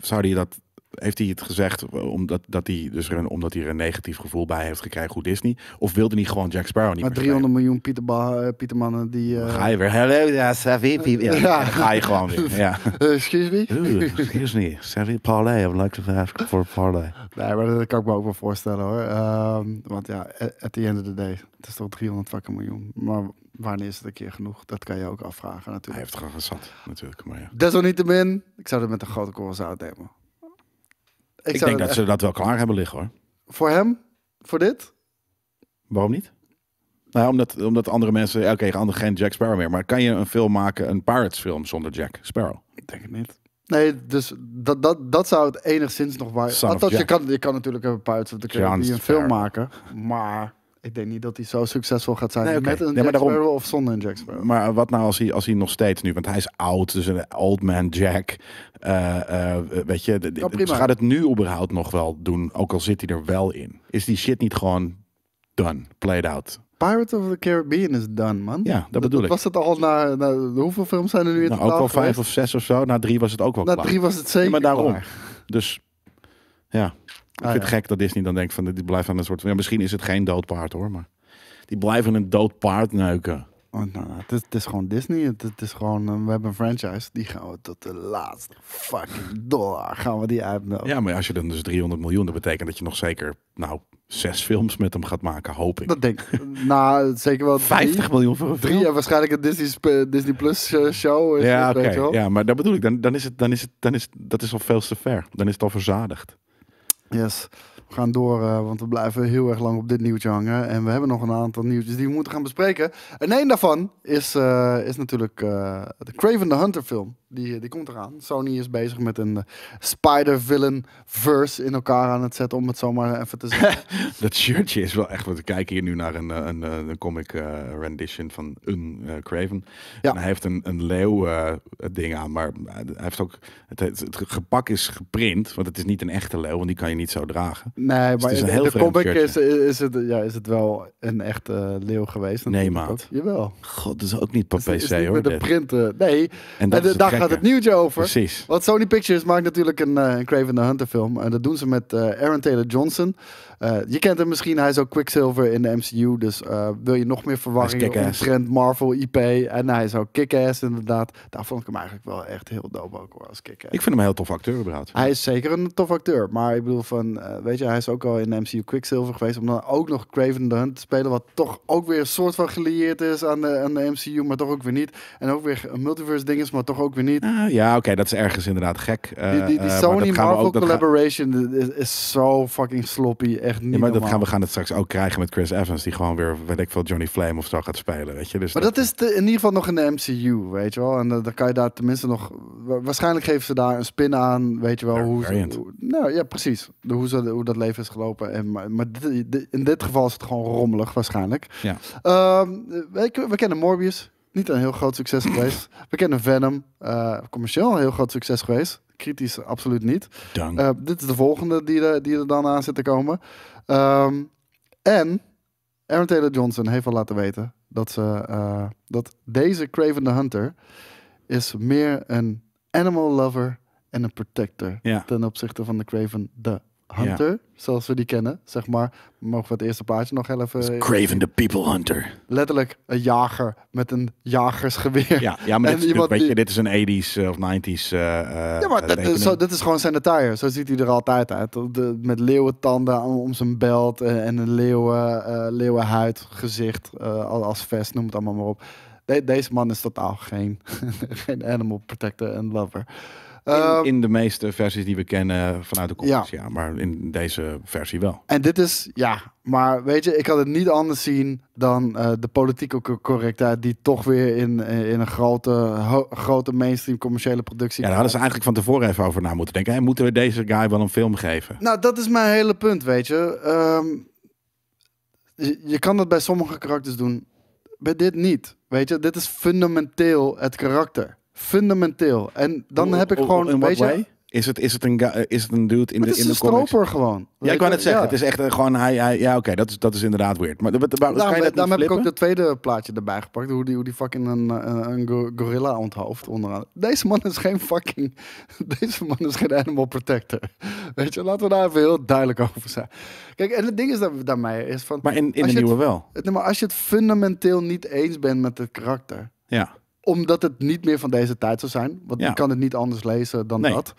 zou hij dat, heeft hij het gezegd omdat, dat hij, dus er een, omdat hij er een negatief gevoel bij heeft gekregen, hoe Disney? Of wilde hij gewoon Jack Sparrow niet Maar meer spelen? 300 miljoen Pieter Ba- eh, Pietermannen die... Dan eh, Ga je weer, hello, ja, savvy people. Ja, Ja. dan ga je gewoon weer. Ja. eh, [LAUGHS] excuse me? [LAUGHS] Oeh, excuse me, savvy parlay, I would like to ask for parlay. Nee, maar dat kan ik me ook wel voorstellen hoor. Ehm, want ja, a- at the end of the day, het is toch 300 fucking miljoen. Maar wanneer is het een keer genoeg? Dat kan je ook afvragen Hij natuurlijk. heeft het gewoon gezat, natuurlijk. Maar ja. Desalniettemin, ik zou dit met een grote korrel uitnemen. Ik, Ik, zou denk het dat ze dat wel klaar hebben liggen hoor. echt- Voor hem, voor dit? Waarom niet? Nou, ja, omdat, omdat andere mensen, ja, oké, andere geen Jack Sparrow meer. Maar kan je een film maken, een Pirates film zonder Jack Sparrow? Ik denk het niet. Nee, dus dat, dat, dat zou het enigszins nog waar. Son of Althans, je Jack. kan, je kan natuurlijk een Pirates of the John Caribbean film Sparrow. maken. Maar Ik denk niet dat hij zo succesvol gaat zijn Nee, oké. met een Nee, Jack maar daarom- Sparrow of zonder een Jack Sparrow. Maar wat nou als hij, als hij nog steeds nu, want hij is oud, dus een old man Jack. Eh, eh, weet je, de- de- Kan prima. ze gaat het nu überhaupt nog wel doen, ook al zit hij er wel in. Is die shit niet gewoon done, played out? Pirate of the Caribbean is done, man. Ja, dat bedoel ik. Was het al na, na- hoeveel films zijn er nu in Nou, ook totaal al vijf geweest? of zes of zo, na drie was het ook wel Na klaar. drie was het zeker Oh, Ja, maar daarom. klaar. Dus ja, ik Ah, vind ja. het gek dat Disney dan denkt van, die blijft aan een soort van, ja, misschien is het geen dood paard hoor, maar die blijven een dood paard neuken. Want, nou, het, is, het is gewoon Disney. Het, het is gewoon, eh, we hebben een franchise. Die gaan we tot de laatste fucking dollar gaan we die uitmelken. Ja, maar als je dan dus 300 miljoen, dat betekent dat je nog zeker, nou, zes films met hem gaat maken, hoop ik. Dat [LAUGHS] denk ik. nou, zeker wel drie. 50 miljoen voor een Drie en waarschijnlijk een Disney, sp- Disney Plus eh, show. Is Ja, het, oké. weet je wel. Ja, maar dat bedoel ik. Dan, dan is het, dan is het, dan is dat is al veel te ver. Dan is het al verzadigd. Yes. We gaan door, eh, want we blijven heel erg lang op dit nieuwtje hangen. En we hebben nog een aantal nieuwtjes die we moeten gaan bespreken. En één daarvan is, eh, is natuurlijk eh, de Craven the Hunter film. Die, die komt eraan. Sony is bezig met een eh, Spider-Villain-verse in elkaar aan het zetten, om het zomaar even [LAUGHS] te zeggen. Dat shirtje is wel echt. We kijken hier nu naar een, eh, een, eh, een comic eh, rendition van een eh, Craven. Ja. En hij heeft een, een leeuw eh, ding aan, maar hij heeft ook. Het, het, het gepak is geprint, want het is niet een echte leeuw, want die kan je niet zo dragen. Nee, Dus het maar is in een heel de vreemd comic is, eh, shirtje. is, het, ja, is het wel een echte eh, leeuw geweest. Nee, natuurlijk maat. ook. Jawel. God, dat is ook niet per Is niet- is PC niet hoor. Met de dit. printen. Nee, En en dat de- is daar gaat gekke. het nieuwtje over. Precies. Want Sony Pictures maakt natuurlijk een, eh, een Craven the Hunter film. En dat doen ze met eh, Aaron Taylor Johnson. Eh, je kent hem misschien, hij is ook Quicksilver in de MCU. Dus eh, wil je nog meer verwarring kick-ass. omtrent Marvel, IP. En hij is ook kick-ass inderdaad. Daar vond ik hem eigenlijk wel echt heel dope ook hoor, als kick-ass. Ik vind hem een heel tof acteur, überhaupt. Hij is zeker een tof acteur. Maar ik bedoel van, eh, weet je, hij is ook al in de MCU Quicksilver geweest. Om dan ook nog Craven the Hunt te spelen. Wat toch ook weer een soort van gelieerd is aan de, aan de MCU. Maar toch ook weer niet. En ook weer een multiverse ding is, maar toch ook weer niet. Ah, ja, oké, dat is ergens inderdaad gek. Eh, Die, die, eh, die maar dat Sony gaan we Marvel ook- dat ga- collaboration is, is zo fucking sloppy. Echt niet Ja, maar dat normaal. gaan we gaan het straks ook krijgen met Chris Evans, die gewoon weer, weet ik veel, Johnny Flame of zo gaat spelen, weet je. Dus Maar dat is de- in ieder geval nog in de MCU, weet je wel. En eh, dan kan je daar tenminste nog... wa- Waarschijnlijk geven ze daar een spin aan, weet je wel. Ja, Hoe, ze- variant. hoe- nou ja, precies. De- hoe, ze, hoe dat leven is gelopen. En, maar maar dit- dit- in dit geval is het gewoon rommelig waarschijnlijk. Ja. Ehm, we, we kennen Morbius. Niet een heel groot [LAUGHS] succes geweest. We kennen Venom. eh, commercieel een heel groot succes geweest. Kritisch absoluut niet. Dank. Eh, dit is de volgende die er, die er dan aan zit te komen. Ehm, en Aaron Taylor Johnson heeft al laten weten dat, ze, eh, dat deze Craven the Hunter is meer een animal lover en een protector Ja. ten opzichte van de Craven the Hunter, zoals we die kennen, zeg maar. Mogen we het eerste plaatje nog heel even... Craven the People Hunter. Letterlijk een jager met een jagersgeweer. Ja, ja maar En dit is, natuurlijk, iemand weet die- je, dit is een 80s eh, of 90s. eh, eh, Ja, maar dat, tekening. is zo, dat is gewoon zijn attire. Zo ziet hij er altijd uit. De- met leeuwentanden om, om zijn belt eh, en een leeuwen, eh, leeuwenhuid, gezicht eh, al- als vest, noem het allemaal maar op. De- deze man is totaal geen, [LAUGHS] geen animal protector en lover. Ehm, in, in de meeste versies die we kennen vanuit de comics, ja. Maar in deze versie wel. En dit is, ja, maar weet je, ik had het niet anders zien dan eh, de politieke co- correctheid die toch weer in, eh, in een grote, ho- grote mainstream commerciële productie Ja, daar hadden ze eigenlijk van tevoren even over na moeten denken. Hey, moeten we deze guy wel een film geven? Nou, dat is mijn hele punt, weet je. Ehm, je, je kan dat bij sommige karakters doen, bij dit niet. Weet je, dit is fundamenteel het karakter. Fundamenteel. En dan heb ik Hoe- gewoon, in what weet je... way? Is het, is, het een, guy- eh, is het een dude in maar de, het is in de een comics? stroper gewoon. Ja, weet ik wou je, net zeggen, ja. het is echt eh, gewoon hij, hij ja oké, dat, is, dat is inderdaad weird. Maar, maar, maar kan Daarom, je dat daarom niet heb ik ook flippen? dat tweede plaatje erbij gepakt. Hoe die, hoe die fucking een, eh, een, go- gorilla onthoofd onderaan. Deze man is geen fucking... [LAUGHS] Deze man is geen animal protector. Weet je, laten we daar even heel duidelijk over zijn. Kijk, en het ding is dat, daarmee is van... Maar in, in de Als je het- nieuwe wel. Het- Eh, nee, maar als je het fundamenteel niet eens bent met het karakter, Ja. omdat het niet meer van deze tijd zou zijn, want Ja. je kan het niet anders lezen dan Nee. dat.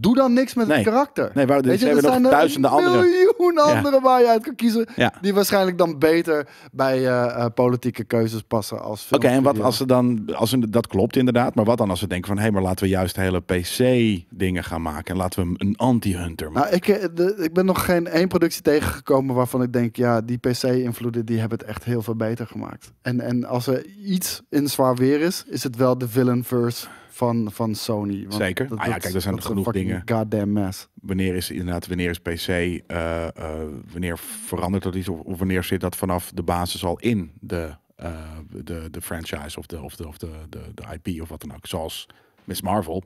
Doe dan niks met Nee. het karakter. Nee, wou- dus Weet je, hebben er we nog zijn er duizenden andere. miljoen Ja. andere waar je uit kan kiezen, Ja. die waarschijnlijk dan beter bij eh, eh, politieke keuzes passen als Oké, en wat filmstudio. als ze dan, als ze, dat klopt inderdaad, maar wat dan als ze denken van, hé, maar laten we juist hele PC-dingen gaan maken en laten we hem een anti-hunter maken. Nou, ik, eh, de- ik ben nog geen één productie tegengekomen waarvan ik denk, ja, die PC-invloeden die hebben het echt heel veel beter gemaakt. En, en als er iets in zwaar weer is, is het wel de villain verse van, van Sony. Want Zeker. Ah ja, kijk, er zijn dat is genoeg een fucking Goddamn mess. Wanneer is inderdaad, wanneer is PC, eh, eh, wanneer verandert dat iets? Of, of wanneer zit dat vanaf de basis al in de, eh, de, de franchise of, de, of, de, of de, de, de IP of wat dan ook? Zoals Miss Marvel.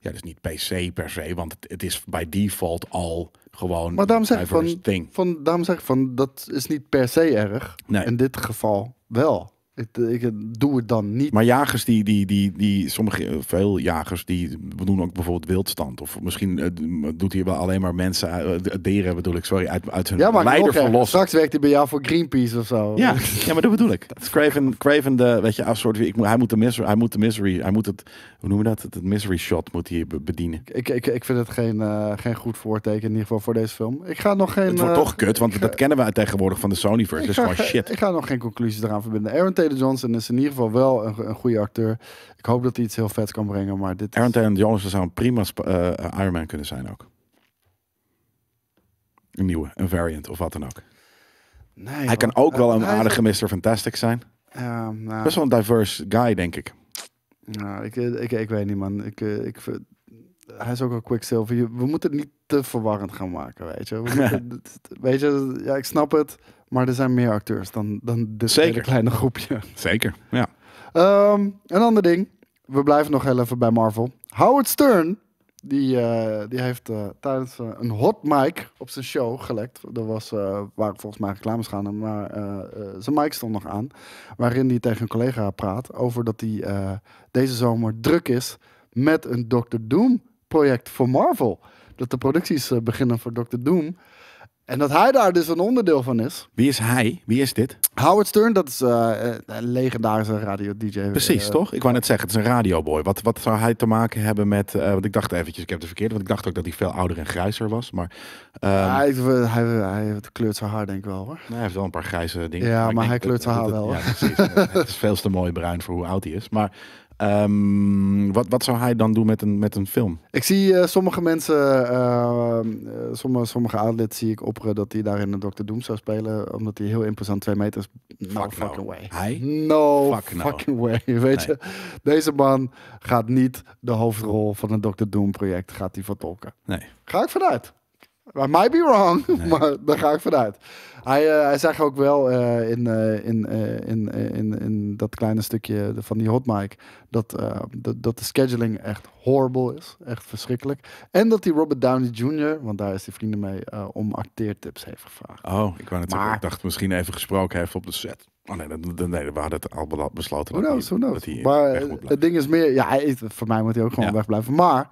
Ja, dus niet PC per se, want het, het is bij default al gewoon Maar daarom zeg ik diverse van, thing. van, daarom zeg ik van, dat is niet per se erg. Nee. In dit geval wel. Ik, ik doe het dan niet. Maar jagers die, die, die, die sommige, eh, veel jagers, die doen ook bijvoorbeeld wildstand. Of misschien eh, d- doet hier wel alleen maar mensen, eh, d- dieren bedoel ik, sorry, uit, uit hun ja, maar leider nog erger. verlossen. Straks werkt hij bij jou voor Greenpeace of zo. Ja, ja, maar dat bedoel ik. Dat Craven, Craven de, weet je, als soort, ik, moet- hij, moet de misery, hij moet de misery, hij moet het, hoe noemen we dat? Het misery shot moet hij be- bedienen. Ik, ik, ik vind het geen, eh, geen goed voorteken, in ieder geval voor deze film. Ik ga nog geen. Het wordt eh, toch kut, want dat kennen we tegenwoordig van de Sonyverse. Het ik is ga, gewoon shit. ik ga nog geen conclusies eraan verbinden. Aaron Taylor Johnson is in ieder geval wel een, een goede acteur. Ik hoop dat hij iets heel vets kan brengen, maar dit Aaron is... Taylor Johnson zou een prima sp- eh, eh, Iron Man kunnen zijn ook. Een nieuwe, een variant of wat dan ook. Nee, Hij man. kan ook Eh, wel een hij is- aardige Mr. Fantastic zijn. Ja, nou, Best wel een diverse guy, denk ik. nou, ik, ik, ik weet niet, man. Ik, eh, ik, vind- hij is ook al Quicksilver. Je- We moeten het niet te verwarrend gaan maken, [LAUGHS] weet je. We moeten- dit- dit- weet je, ja, ik snap het. Maar er zijn meer acteurs dan, dan dit Zeker. hele kleine groepje. Zeker, ja. Ehm, een ander ding. We blijven nog heel even bij Marvel. Howard Stern, die, eh, die heeft eh, tijdens eh, een hot mic op zijn show gelekt. Er was, eh, waren volgens mij reclames gaan, maar eh, eh, zijn mic stond nog aan. Waarin hij tegen een collega praat over dat hij eh, deze zomer druk is met een Doctor Doom project voor Marvel. Dat de producties eh, beginnen voor Doctor Doom. En dat hij daar dus een onderdeel van is. Wie is hij? Wie is dit? Howard Stern, dat is eh, eh, een legendarische eh, radio-dj. Precies, toch? Ik wou net zeggen, het is een radioboy. Wat, wat zou hij te maken hebben met... eh, want ik dacht eventjes, ik heb het verkeerd. Want ik dacht ook dat hij veel ouder en grijzer was. Maar ehm, Ja, hij, hij, hij kleurt zijn haar denk ik wel hoor. nou, hij heeft wel een paar grijze dingen. Ja, ik maar denk hij kleurt zijn haar wel, Ja, precies. het is veel te mooi bruin voor hoe oud hij is. Maar ehm, wat, wat zou hij dan doen met een, met een film? Ik zie eh, sommige mensen, eh, eh, sommige, sommige outlets zie ik opperen dat hij daarin een Dr. Doom zou spelen. Omdat hij heel imposant twee meters... No Fuck no. fucking way. Hij? No Fuck nou. no. fucking way. [LAUGHS] Weet je, deze man gaat niet de hoofdrol van een Dr. Doom project gaat hij vertolken. Nee. Ga ik vanuit. I might be wrong, [LAUGHS] maar daar ga ik vanuit. Hij, eh, hij zag ook wel eh, in, eh, in, eh, in, eh, in, in dat kleine stukje van die hot mic dat, eh, dat, dat de scheduling echt horrible is. Echt verschrikkelijk. En dat die Robert Downey Jr., want daar is hij vrienden mee, eh, om acteertips heeft gevraagd. Oh, ik wou net zeggen, Maar- ik dacht misschien even gesproken heeft op de set. Oh nee, dat- dat- nee we hadden het al bela- besloten Who dat knows, hij, who knows. dat hij maar weg moet eh, blijven. het ding is meer... Ja, hij is- voor mij moet hij ook gewoon Ja. wegblijven. Maar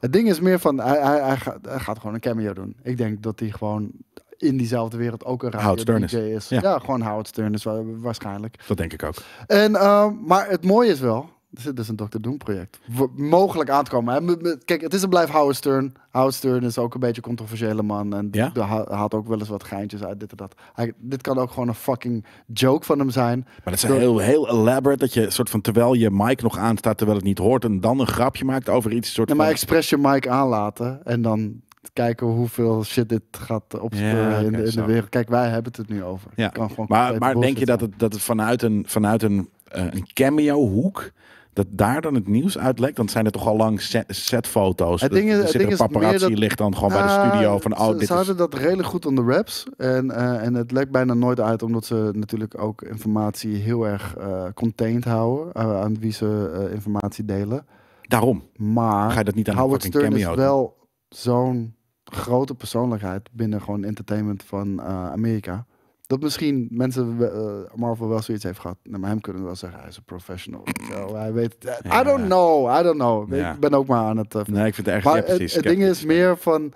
het ding is meer van... Hij, hij, hij, gaat, hij gaat gewoon een cameo doen. Ik denk dat hij gewoon in diezelfde wereld ook een radio Howard Stern is. DJ is. Ja. Ja. gewoon Howard Stern is wa- waarschijnlijk. Dat denk ik ook. En, eh, maar het mooie is wel... Er zit dus een Dr. Doom project. W- mogelijk aan te komen. Hij moet- moet- Kijk, het is een blijf Howard Stern. Howard Stern is ook een beetje een controversiële man. En Ja? de- ha- haalt ook wel eens wat geintjes uit dit en dat. Hij, dit kan ook gewoon een fucking joke van hem zijn. Maar dat is heel, heel elaborate. Dat je soort van terwijl je mic nog aanstaat, terwijl het niet hoort, en dan een grapje maakt over iets. Soort Ja, maar van- expres je mic aanlaten en dan kijken hoeveel shit dit gaat opspeuren Ja, in, oké, de, in zo. de wereld. Kijk, wij hebben het er nu over. Ja. Het kan gewoon maar, complete maar denk je dat bullshit het, dat het vanuit een, vanuit een, eh, een cameo-hoek, dat daar dan het nieuws uitlekt? Dan zijn er toch al lang set, setfoto's. Het Dat- ding is- er het zit ding een is meer paparazzi dat- ligt dan gewoon bij Ah, de studio van, ze, oh, dit ze is... hadden dat redelijk goed onder wraps. En, eh, en het lekt bijna nooit uit, omdat ze natuurlijk ook informatie heel erg eh, contained houden. eh, aan wie ze eh, informatie delen. Daarom Maar ga je dat niet aan een Howard fucking Stern is cameo doen. wel zo'n grote persoonlijkheid binnen gewoon entertainment van eh, Amerika. Dat misschien mensen eh, Marvel wel zoiets heeft gehad. Nou, maar hem kunnen we wel zeggen, hij is een professional. Zo, hij weet, Ja. I don't know, I don't know. Ja. Ik ben ook maar aan het... eh, Nee, ik vind het erg... maar ja, het- precies, het, ding is sceptisch. meer van,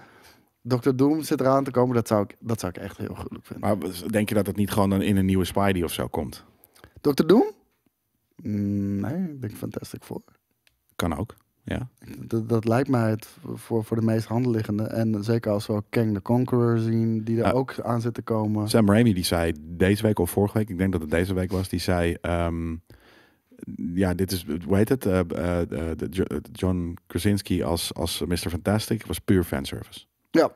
Dr. Doom zit eraan te komen. Dat zou ik, dat zou ik echt heel gruwelijk vinden. Maar denk je dat het niet gewoon in een nieuwe Spidey of zo komt? Dr. Doom? Mm, Nee, ik denk Fantastic Four. Kan ook. Ja. Dat, dat lijkt mij het voor, voor de meest handeliggende. En zeker als we ook Kang the Conqueror zien, die er Ja. ook aan zit te komen. Sam Raimi die zei deze week of vorige week, ik denk dat het deze week was, die zei, ehm, ja, dit is, hoe heet het, Eh, eh, eh, de Jo- eh, John Krasinski als, als Mr. Fantastic was puur fanservice. Ja. Wat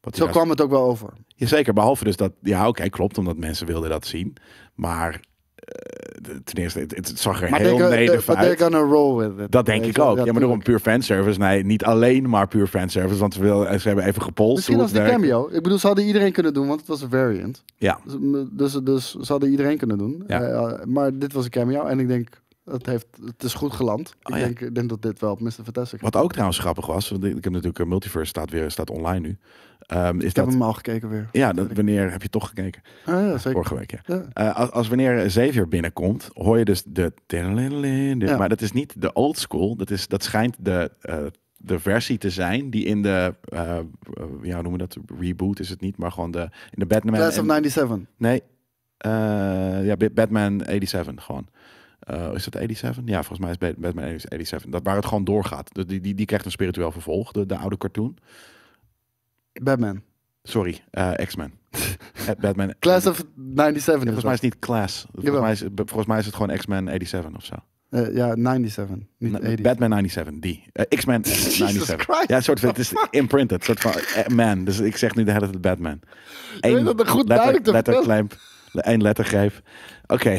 hij Zo daar- kwam het ook wel over. Jazeker, behalve dus dat, ja oké, klopt, omdat mensen wilden dat zien. Maar eh, ten eerste, het, het zag er Maar heel they're, go- nederig but they're uit. gonna roll with it. Dat denk Weet ik je, ook. ja, Ja, maar daarom tuurlijk. puur fanservice. Nee, niet alleen maar puur fanservice. Want ze, wil, ze hebben even gepolst. Misschien hoe als het de werkt. cameo. Ik bedoel, ze hadden iedereen kunnen doen, want het was een variant. Ja. Dus, m- Dus, dus ze hadden iedereen kunnen doen. Ja. Eh, maar dit was een cameo en ik denk, het, heeft, het is goed geland. ik, Oh, ja. denk, ik denk dat dit wel op Mr. Fantastic gaat. Wat ook trouwens grappig was. Want ik heb natuurlijk eh, Multiverse staat weer staat online nu. Ehm, is Ik heb dat, hem al gekeken weer. ja, dat, wanneer heb je toch gekeken? Ah, ja, zeker. Vorige week, ja. Ja. Eh, als, als wanneer Xavier binnenkomt, hoor je dus de... tiddeliddeliddel. Ja. Maar dat is niet de old school. Dat, is, dat schijnt de, eh, de versie te zijn die in de... eh, eh, ja, hoe noem je dat? Reboot is het niet, maar gewoon de, in de Batman... Class of en- 97. nee, eh, ja, Ba- Batman 77 gewoon. Eh, is dat 77? Ja, volgens mij is Ba- Batman 77. Dat waar het gewoon doorgaat. Dus Die, die, die krijgt een spiritueel vervolg, de, de oude cartoon. Batman. Sorry, eh, [LAUGHS] X-Men. Eh, Batman. Class of 97. Volgens mij is het niet Class. Volgens Jawel. mij, is, volgens mij is het gewoon X-Men 77 of zo. Eh, ja, 77. Niet Na- 80. Batman 97, die. Eh, X-Men [LAUGHS] Jesus 97. Christ. Ja, een soort van, het is imprinted. Soort van, eh, man. Dus ik zeg nu de hele tijd Batman. weet dat nog goed duidelijk te vertellen. letterklemp. Eén lettergreep. Oké,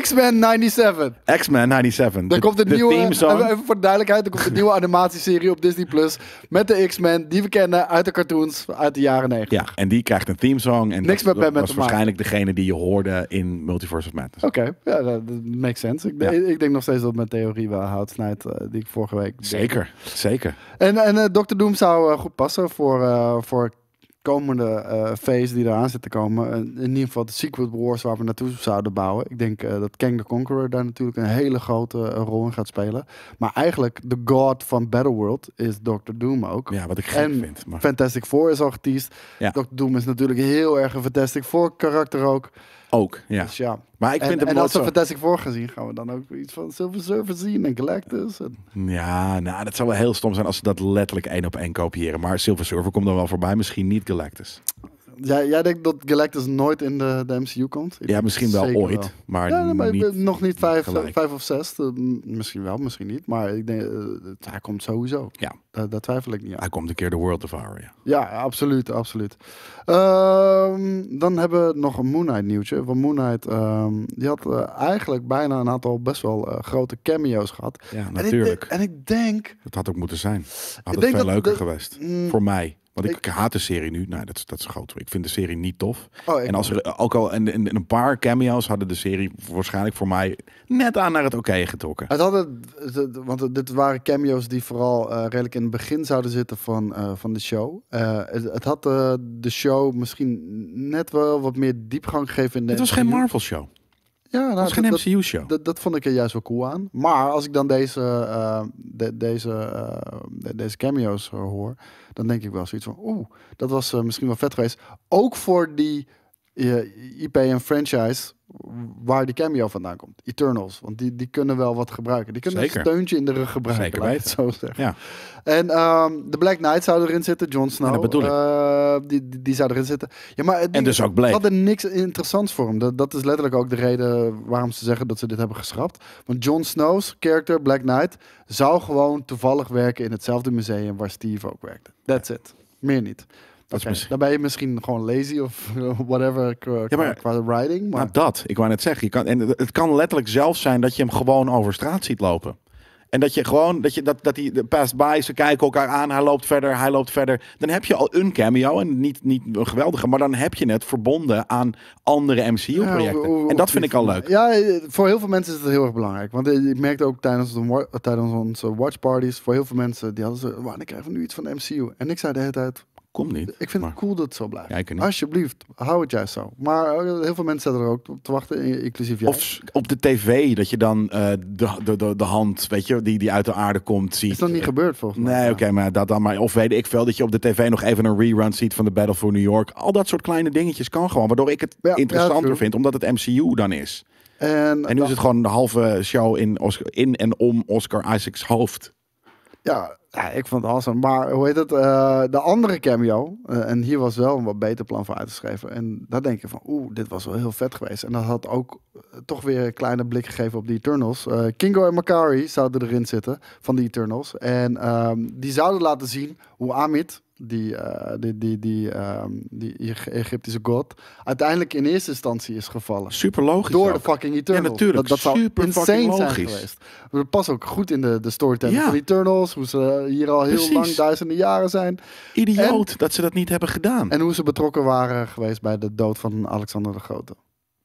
X-Men 97. X-Men 97. Er komt een de nieuwe, eh, theme song. even voor de duidelijkheid, er komt een nieuwe animatieserie op Disney Plus met de X-Men die we kennen uit de cartoons uit de jaren 90. Ja, en die krijgt een theme song. En Niks dat, met dat Batman te was maken. waarschijnlijk degene die je hoorde in Multiverse of Madness. Oké, ja, dat dat makes sense. Ik, denk- ik denk nog steeds dat mijn theorie wel houdt snijdt eh, die ik vorige week. deed. Zeker, zeker. En, en eh, Dr. Doom zou eh, goed passen voor, eh, voor komende eh phase die eraan zit te komen. En in ieder geval de Secret Wars waar we naartoe zouden bouwen. Ik denk eh, dat Kang the Conqueror daar natuurlijk een hele grote eh, rol in gaat spelen. Maar eigenlijk de god van Battleworld is Dr. Doom ook. Ja, wat ik gek En vind. Maar Fantastic Four is al geteased. Ja. Dr. Doom is natuurlijk heel erg een Fantastic Four karakter ook. ook, ja. Dus ja, Maar ik en, vind hem en nooit als we zo... Fantastic Four gaan zien, gaan we dan ook iets van Silver Surfer zien en Galactus. En... Ja, nou, dat zou wel heel stom zijn als ze dat letterlijk één op één kopiëren. Maar Silver Surfer komt dan wel voorbij, misschien niet Galactus. Jij, jij denkt dat Galactus nooit in de, de MCU komt? Ik Ja, denk misschien wel zeker ooit, maar Ja, nee, maar ik niet ben nog niet vijf, gelijk. vijf of zes. Eh, m- misschien wel, misschien niet. Maar ik denk, eh, het- hij komt sowieso. Ja. Ah. Daar, daar twijfel ik niet aan. Hij komt een keer de World Devourer, ja. Ja, absoluut, absoluut. Ehm, dan hebben we nog een Moon Knight nieuwtje. Want Moon Knight, ehm, die had eh, eigenlijk bijna een aantal best wel eh, grote cameo's gehad. Ja, En ik- natuurlijk. En ik denk, Dat had ook moeten zijn. Had denk het veel dat- leuker dat- geweest. Mm. voor mij. Want ik, Ik- haat de serie nu. Nou, dat, is- dat is groot. Ik vind de serie niet tof. Oh, ik- en als er ook al en, en- en een paar cameo's hadden de serie waarschijnlijk voor mij net aan naar het oké getrokken. Het hadden, het- want dit waren cameo's die vooral eh, redelijk in het begin zouden zitten van, eh, van de show. Eh, het, het had eh, de show misschien net wel wat meer diepgang gegeven in de Het was geen MCU. Marvel-show. Het Ja, nou, was geen dat, dat, MCU-show. dat, dat vond ik er juist wel cool aan. Maar als ik dan deze, eh, de- deze, eh, de- deze cameo's eh, hoor, dan denk ik wel zoiets van, oeh, dat was eh, misschien wel vet geweest. Ook voor die eh, IP en franchise waar die cameo vandaan komt. Eternals, want die, die kunnen wel wat gebruiken. Die kunnen Zeker. een steuntje in de rug gebruiken, Zeker laat ik het zo zeggen. Ja. En ehm, de Black Knight zou erin zitten, Jon Snow. dat bedoel ik. eh, die, die, die zou erin zitten. Ja, maar eh, het En ding dus is, ook Blade. ze hadden niks interessants voor hem. Dat, dat is letterlijk ook de reden waarom ze zeggen dat ze dit hebben geschrapt. Want Jon Snow's character, Black Knight, zou gewoon toevallig werken in hetzelfde museum waar Steve ook werkte. That's it. Meer niet. Dat is Oké, misschien- Dan ben je misschien gewoon lazy of [LAUGHS] whatever qua, Ja, maar- qua writing. Maar Nou, dat. Ik wou net zeggen. Je kan, en het kan letterlijk zelfs zijn dat je hem gewoon over straat ziet lopen. En dat je gewoon, dat, je, dat, dat hij past by, ze kijken elkaar aan, hij loopt verder, hij loopt verder. Dan heb je al een cameo, en niet, niet een geweldige, maar dan heb je het verbonden aan andere Ja, MCU-projecten. hoe- hoe- en dat vind ik al leuk. Ja, eh, voor heel veel mensen is het heel erg belangrijk. Want eh, ik merkte ook tijdens, de, wa- tijdens onze watchparties, voor heel veel mensen, die hadden zo, wanneer krijgen we nu iets van de MCU? En ik zei de hele tijd, Komt niet. ik vind maar- het cool dat het zo blijft. Ja, ik niet. Alsjeblieft, hou het juist zo. Maar eh, heel veel mensen zaten er ook op te wachten, i- inclusief jij. Of s- op de tv, dat je dan eh, de, de, de, de hand, weet je, die, die uit de aarde komt, ziet. is dat niet gebeurd volgens mij? Nee, Ja. oké, maar dat dan maar. Of weet ik veel, dat je op de tv nog even een rerun ziet van de Battle for New York. Al dat soort kleine dingetjes kan gewoon, waardoor ik het Ja, ja, interessanter true. vind, omdat het MCU dan is. En, En nu is het gewoon de halve show in, Oscar, in en om Oscar Isaacs hoofd. Ja, ja, ik vond het awesome. Maar hoe heet het? eh, de andere cameo. eh, en hier was wel een wat beter plan voor uitgeschreven. En daar denk je van, oeh, dit was wel heel vet geweest. En dat had ook eh, toch weer een kleine blik gegeven op de Eternals. Eh, Kingo en Makari zouden erin zitten van de Eternals. En ehm, die zouden laten zien hoe Amit die, eh, die, die, die, ehm, die Eg- Egyptische god, uiteindelijk in eerste instantie is gevallen. Super logisch. Door de ook. fucking Eternals. Ja, natuurlijk. Dat, dat zou Super insane fucking zijn logisch. geweest. Dat past ook goed in de, de storytelling Ja. van Eternals. Hoe ze hier al heel Precies. lang, duizenden jaren zijn. Idioot dat ze dat niet hebben gedaan. En hoe ze betrokken waren geweest bij de dood van Alexander de Grote.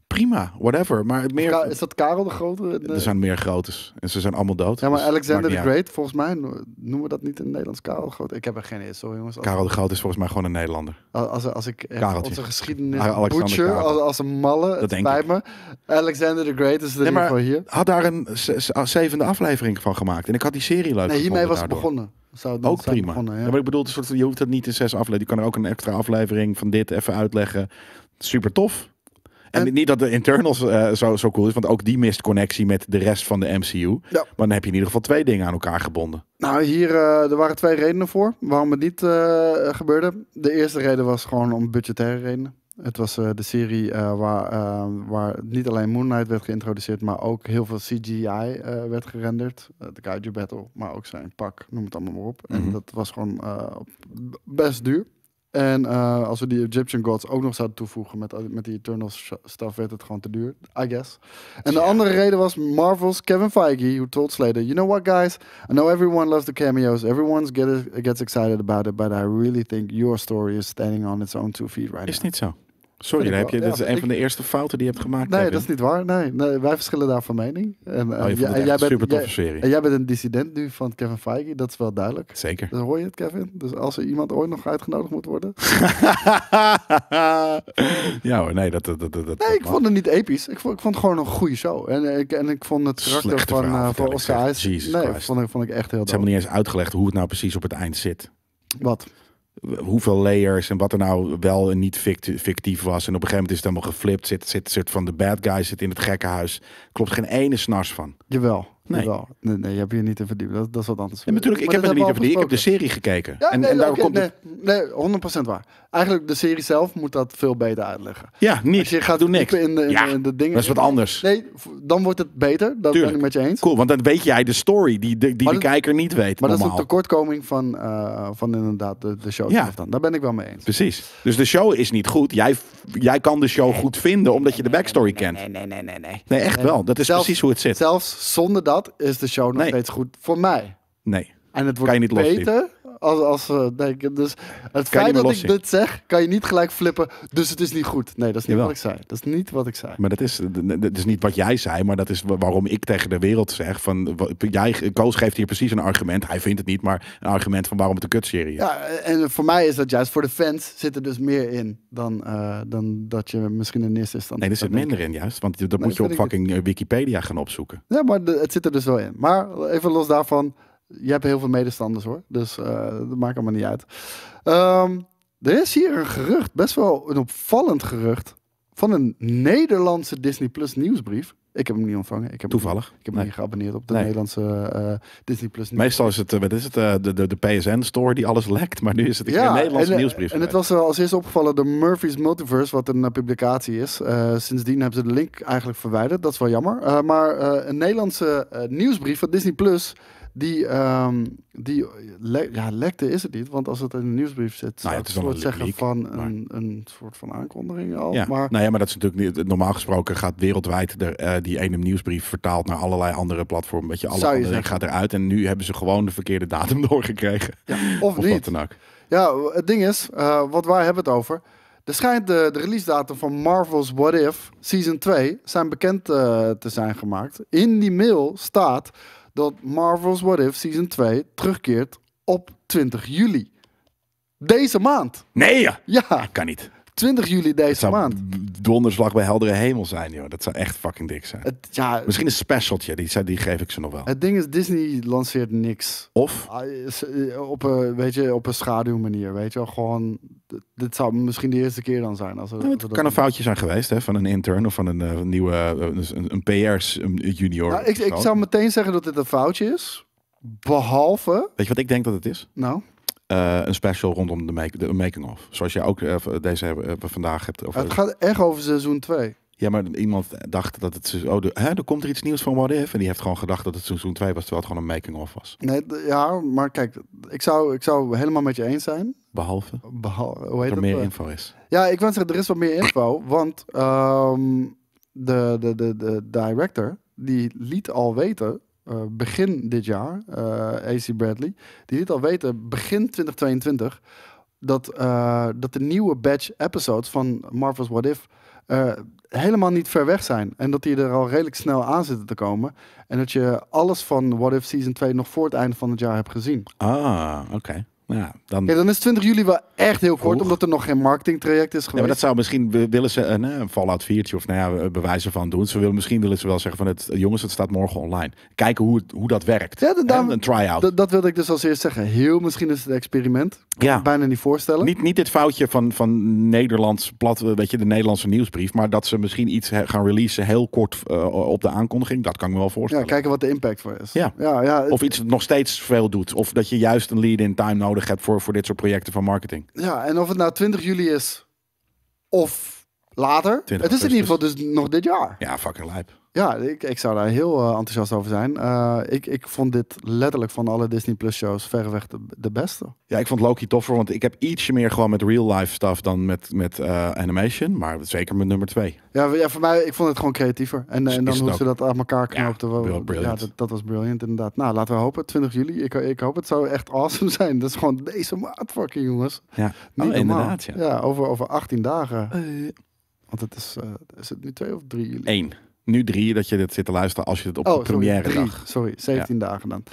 Prima, whatever. Maar het meer, Ka- Is dat Karel de Grote? Nee. er zijn meer grootes. En ze zijn allemaal dood. Ja, maar dus het Alexander maakt the niet uit. Great, volgens mij no- noemen we dat niet in het Nederlands Karel de Grote. Ik heb er geen idee, sorry jongens. Als, Karel de Groot is volgens mij gewoon een Nederlander. als, als, als ik echt Kareltje. onze geschiedenis Ah, Alexander butcher, Karel. als, als een malle, het denk spijt me. Alexander the Great is Nee, er in ieder maar- geval hier. Had daar een ze- ze- zevende aflevering van gemaakt. En ik had die serie leuk Nee, hiermee gevonden was het daardoor. begonnen. Zou het Ook zou het prima. begonnen, ja. Ja, maar ik bedoel, het is een soort, je hoeft dat niet in zes afleveringen. Je kan er ook een extra aflevering van dit even uitleggen. Super tof. En, En- niet dat de internals eh, zo, zo cool is, want ook die mist connectie met de rest van de MCU. Ja. Maar dan heb je in ieder geval twee dingen aan elkaar gebonden. Nou, hier eh, er waren twee redenen voor waarom het niet eh, gebeurde. De eerste reden was gewoon om budgettaire redenen. Het was eh, de serie eh, waar, eh, waar niet alleen Moon Knight werd geïntroduceerd, maar ook heel veel CGI eh, werd gerenderd. Eh, de Kaiju Battle, maar ook zijn pak, noem het allemaal maar op. En Mhm. dat was gewoon eh, b- best duur. En eh, als we die Egyptian Gods ook nog zouden toevoegen met, eh, met die Eternals sh- stuff, werd het gewoon te duur, I guess. En de andere reden was Marvel's Kevin Feige, who told Slater, you know what guys, I know everyone loves the cameos, everyone get, gets excited about it, but I really think your story is standing on its own two feet right Is now. niet zo. Sorry, Vind daar ik heb je, wel. dat Ja, is een ik- van de eerste fouten die je hebt gemaakt. Nee, Kevin. dat is niet waar. Nee, nee wij verschillen daar van mening. En, eh, Oh, je vond jij- het en echt jij een bent, super toffe jij- serie. en jij bent een dissident nu van Kevin Feige, dat is wel duidelijk. Zeker. Dus hoor je het, Kevin? Dus als er iemand ooit nog uitgenodigd moet worden. [LAUGHS] ja hoor, nee, dat, dat, dat, dat Nee, dat ik mag. vond het niet episch. Ik vond, ik vond het gewoon een goede show. En, eh, ik, en ik vond het karakter Slechte van, verhaal, eh van vertel ik Oscar echt. Isaac... Jesus nee, Christ. vond ik, vond ik echt heel Ze hebben dood. niet eens uitgelegd hoe het nou precies op het eind zit. Wat? hoeveel layers en wat er nou wel en niet fict- fictief was. En op een gegeven moment is het helemaal geflipt. Zit, zit, zit van de bad guy zit in het gekkenhuis. Klopt geen ene snars van. Jawel. Nee. Jawel. Nee, nee, je hebt je niet te verdiepen. Dat, dat is wat anders. En natuurlijk, ik Maar heb dat het er niet over hebben die. Ik we al heb de serie besproken. gekeken. Ja, en, nee, en daarom oké, komt het. nee, nee, 100% waar. Eigenlijk de serie zelf moet dat veel beter uitleggen. Ja, Als niet. je gaat Doe niks. verdiepen In de, in, Ja, de- in de dingen. dat is wat anders. Nee, v- dan wordt het beter. Dat ben Tuurlijk. ik met je eens. Cool, want dan weet jij de story die de, die Maar de dat- kijker niet weet. Maar dat normaal. is een tekortkoming van, eh, van inderdaad de, de show. Ja. zelf Dan. Daar ben ik wel mee eens. Precies. Dus de show is niet goed. Jij, jij kan de show goed vinden omdat je de backstory kent. Nee, nee, nee, nee. Nee, echt wel. Dat is Zelfs- precies hoe het zit. Zelfs zonder dat is de show nog Nee. steeds goed voor mij. Nee. En Kan het wordt je niet loszien. beter als, als eh, nee, ik- Dus het meer feit dat ik loszien. dit zeg, kan je niet gelijk flippen. Dus het is niet goed. Nee, dat is niet Jawel. wat ik zei. Dat is niet wat ik zei. Maar dat is, dat is niet wat jij zei, maar dat is wa- waarom ik tegen de wereld zeg: van wa- jij, Koos geeft hier precies een argument. Hij vindt het niet, maar een argument van waarom het een kutserie is. Ja, en voor mij is dat juist voor de fans zit er dus meer in dan, eh, dan dat je misschien in eerste instantie. nee, er zit zou minder in, juist. Want je- dat Nee, moet je op vind ik fucking eh, Wikipedia gaan opzoeken. denken. Ja, maar de- het zit er dus wel in. Maar even los daarvan, je hebt heel veel medestanders hoor. Dus eh, dat maakt allemaal niet uit. Ehm, er is hier een gerucht, best wel een opvallend gerucht, van een Nederlandse Disney Plus nieuwsbrief. Ik heb hem niet ontvangen. Ik heb hem Toevallig. Ik heb me Nee. niet geabonneerd op de Nee. Nederlandse eh, Disney Plus. Meestal is het, eh, wat is het eh, de, de, de PSN-store die alles lekt, maar nu is het een keer een Nederlandse en, eh, nieuwsbrief. En het geweest. was al als eerst opgevallen door Murphy's Multiverse, wat een eh, publicatie is. Eh, sindsdien hebben ze de link eigenlijk verwijderd. Dat is wel jammer. Eh, maar eh, een Nederlandse eh, nieuwsbrief van Disney Plus. Die, ehm, die le- ja, lekte is het niet, want als het in een nieuwsbrief zit, zou Nou ja, het het is een wel soort een zeggen leak, van maar- een, een soort van aankondiging al. ja. Maar Nou ja, maar dat is natuurlijk niet, normaal gesproken gaat wereldwijd de, eh, die ene nieuwsbrief vertaald naar allerlei andere platformen. Weet je, alle Zou je andere zeggen. gaat eruit en nu hebben ze gewoon de verkeerde datum [LAUGHS] doorgekregen. of, Of wat niet. dan ook. Ja, het ding is, eh, wat waar hebben we het over? Er schijnt de, de release datum van Marvel's What If Season 2 zijn bekend eh, te zijn gemaakt. In die mail staat dat Marvel's What If Season 2 terugkeert op 20 juli. Deze maand. Nee, ja. Ja, Ah, kan niet. 20 juli Het deze zou maand. d- donderslag bij heldere hemel zijn, joh. Dat zou echt fucking dik zijn. Het, ja, Misschien een specialtje, die, zou- die geef ik ze nog wel. Eh, het ding is, Disney lanceert niks. Of, Ah, is- eh, Op een, weet je, op een schaduwmanier, weet je wel. Gewoon, dit- dit zou misschien de eerste keer dan zijn. Als we- nou, als we het dat kan een doen. foutje zijn geweest hè, van een intern of van een eh, nieuwe eh, een, een PR's een junior. Nou, ik, ik Zo. zou meteen zeggen dat dit een foutje is. Behalve, Weet je wat ik denk dat het is? nou, Eh, een special rondom de, make, de making-of. Zoals jij ook eh, v- deze hebben- eh, vandaag hebt. Of, het gaat echt over seizoen 2. Ja, maar iemand dacht dat het... seizoen- Oh, de, hè, er komt er iets nieuws van What If. En die heeft gewoon gedacht dat het seizoen 2 was, terwijl het gewoon een making-of was. Nee, d- ja, maar kijk, ik zou, ik zou helemaal met je eens zijn. Behalve Behal- hoe heet dat er dat? meer Eh, info is. Ja, ik wens zeggen, er is wat meer info. Want ehm, de, de, de, de director, die liet al weten, eh, begin dit jaar, eh AC Bradley, die liet al weten, begin 2022, dat, eh, dat de nieuwe batch episodes van Marvel's What If eh, helemaal niet ver weg zijn. En dat die er al redelijk snel aan zitten te komen. En dat je alles van What If Season 2 nog voor het einde van het jaar hebt gezien. Ah, oké. Ja, dan... Kijk, dan is 20 juli wel echt heel kort, Vroeg. omdat er nog geen marketingtraject Ja, is maar geweest. dat zou misschien wi- willen ze een, eh, een Fallout 4 of nou ja, bewijzen van doen. Ze willen, misschien willen ze wel zeggen van het jongens, het staat morgen online. Kijken hoe, het, hoe dat werkt. Ja, dat- Hè, daarom- een try-out. Dat, dat wilde ik dus als eerst zeggen. Heel misschien is het experiment. ja. Bijna niet voorstellen. Niet, niet dit foutje van, van Nederlands plat, weet je, de Nederlandse nieuwsbrief. Maar dat ze misschien iets he- gaan releasen heel kort eh, op de aankondiging. Dat kan ik me wel ja, voorstellen. kijken wat de impact voor is. Ja. ja, ja, Of iets nog steeds veel doet. Of dat je juist een lead-in time nodig hebt voor, voor dit soort projecten van marketing. ja, en of het nou 20 juli is of later. Het is 20 in ieder geval dus nog dit jaar. Ja, fucking lijp. Ja, ik, ik zou daar heel eh, enthousiast over zijn. Eh, ik, ik vond dit letterlijk van alle Disney Plus shows verreweg de, de beste. Ja, ik vond Loki toffer, want ik heb ietsje meer gewoon met real-life stuff dan met, met eh, animation. Maar zeker met nummer twee. Ja, w- ja, voor mij, ik vond het gewoon creatiever. En, eh, Is- en dan is het hoe ze dat aan elkaar knoopten. wel- wel ja, brilliant. dat, dat was briljant inderdaad. Nou, laten we hopen. 20 juli, ik, ik hoop het zou echt [LAUGHS] awesome zijn. Dat is gewoon deze maand, fucking jongens. Ja, Niet Oh, normaal. inderdaad. Ja. over, over 18 dagen. Want het is, eh, is het nu 2 of 3 juli? Oh, Eén. Nu drie, dat je dit zit te luisteren als je het op de sorry, première drie. dag. Sorry, 17 dagen dan.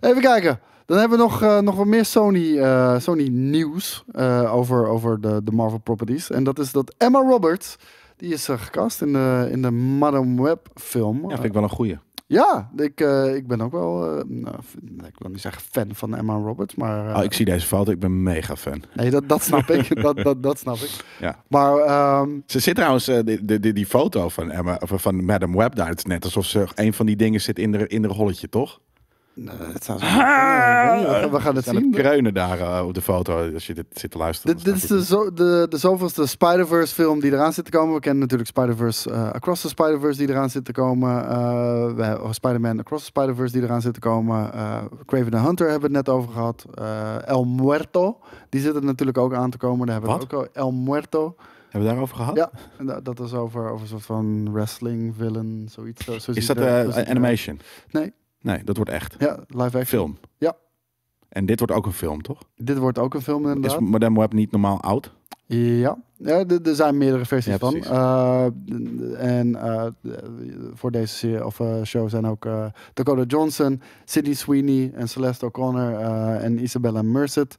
Even kijken. Dan hebben we nog, eh, nog wat meer Sony, eh, Sony nieuws eh, over, over de, de Marvel properties. En dat is dat Emma Roberts, die is eh, gecast in de, in de Madame Web film. Eh, Ja, vind ik wel een goeie. Ja, ik, eh, ik ben ook wel, eh, nou, f- ik wil niet zeggen fan van Emma Roberts, maar... eh, Oh, ik zie deze foto, ik ben mega fan. Nee, dat, dat snap [LAUGHS] ik. dat, dat, dat snap ik. Ja. Maar ehm, Ze zit trouwens, eh, die, die, die- die foto van, Emma, of van Madame Web daar, het is net alsof ze een van die dingen zit in de, in de rolletje, toch? nou, het zou zo- Ja, ik weet niet, we gaan- we gaan het Ze aan zien. Ah! het kreunen daar eh, op de foto, als je dit zit te luisteren. Dit, dan dit is dus snap de, ik zo, de, de zoveelste Spider-Verse film die eraan zit te komen. We kennen natuurlijk Spider-Verse eh, Across the Spider-Verse die eraan zit te komen. Eh, we hebben Spider-Man Across the Spider-Verse die eraan zit te komen. Eh Craven the Hunter hebben we het net over gehad. Eh, El Muerto, die zit er natuurlijk ook aan te komen. Daar hebben we Wat? het ook al. El Muerto. niet. Hebben we daarover gehad? Ja, en da- dat is over, over een soort van wrestling, villain, zoiets. Zo- zo Is ziet dat er- eh, zo ziet er- animation? Nee. Nee, dat wordt echt. Ja, live action. Film. Ja. En dit wordt ook een film, toch? Dit wordt ook een film inderdaad. Is Madame Web niet normaal oud? Ja, ja d- er zijn meerdere versies Ja, van. precies. Eh, d- d- en eh, d- voor deze serie of eh, show zijn ook eh, Dakota Johnson, Sydney Sweeney en Celeste O'Connor eh, en Isabella Merced.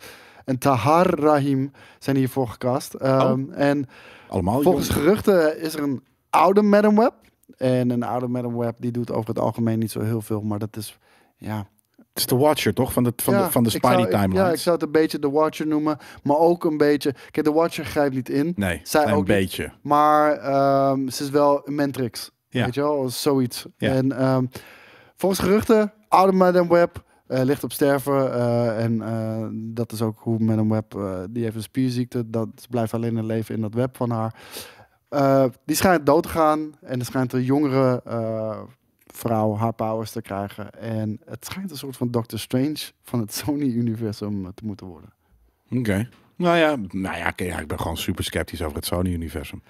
En Tahar Rahim zijn hiervoor gecast. Ehm, Oh. En Allemaal volgens jong? geruchten is er een oude Madam Web. En een oude Madam Web die doet over het algemeen niet zo heel veel. Maar dat is, ja, Het is de Watcher, toch? Van de, van ja, de, van de ik zou- Spidey ik- timeline. Ja, ik zou het een beetje de Watcher noemen, maar ook een beetje. Kijk, de Watcher grijpt niet in, Nee, Zij een ook niet. beetje. maar ehm, ze is wel een Matrix. Ja. Weet je wel, zoiets. Ja. En ehm, volgens geruchten, oude Madame Web eh, ligt op sterven. eh, en eh, dat is ook hoe Madame Web, eh, die heeft een spierziekte, dat blijft alleen een leven in dat web van haar. Eh, die schijnt dood te gaan en er schijnt een jongere eh, vrouw haar powers te krijgen. En het schijnt een soort van Doctor Strange van het [LAUGHS] Sony-universum te moeten worden. Oké. Nou ja, nou ja, oké, ja, ik ben gewoon super sceptisch over het Sony-universum.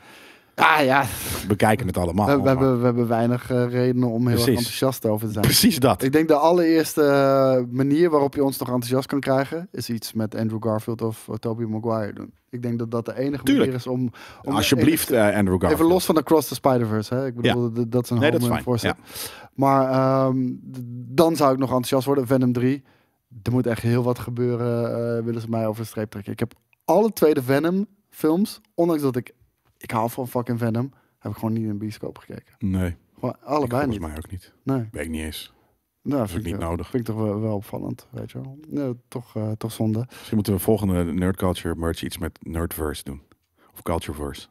Ah ja, We kijken het allemaal. we, we maar- hebben, we hebben weinig eh, redenen om heel erg Oh, Precies. enthousiast over te zijn. Precies dat. Ik denk de allereerste eh, manier waarop je ons nog enthousiast kan krijgen... is iets met Andrew Garfield of eh, Tobey Maguire doen. Ik denk dat dat de enige Tuurlijk. manier is om... om Alsjeblieft, eh, Andrew Even, Garfield. even los van Across the Spider-Verse. Hè? Ik bedoel, dat, dat is een Nee, dat home is run fijn. voorstel. Ja. Maar ehm, d- dan zou ik nog enthousiast worden. Venom 3. Er moet echt heel wat gebeuren, eh, willen ze mij over de streep trekken. Ik heb alle tweede Venom films, ondanks dat ik... Ik hou van fucking Venom, heb ik gewoon niet in een bioscoop gekeken. Nee, ik Gewoon allebei volgens niet. mij ook niet. Nee, Weet ik niet eens. Dat nou, is ook vind, niet ik, nodig. vind ik toch wel, wel opvallend, weet je wel. Ja, toch, eh, toch zonde. Misschien moeten we volgende Nerd Culture merch iets met Nerdverse doen. Of Cultureverse.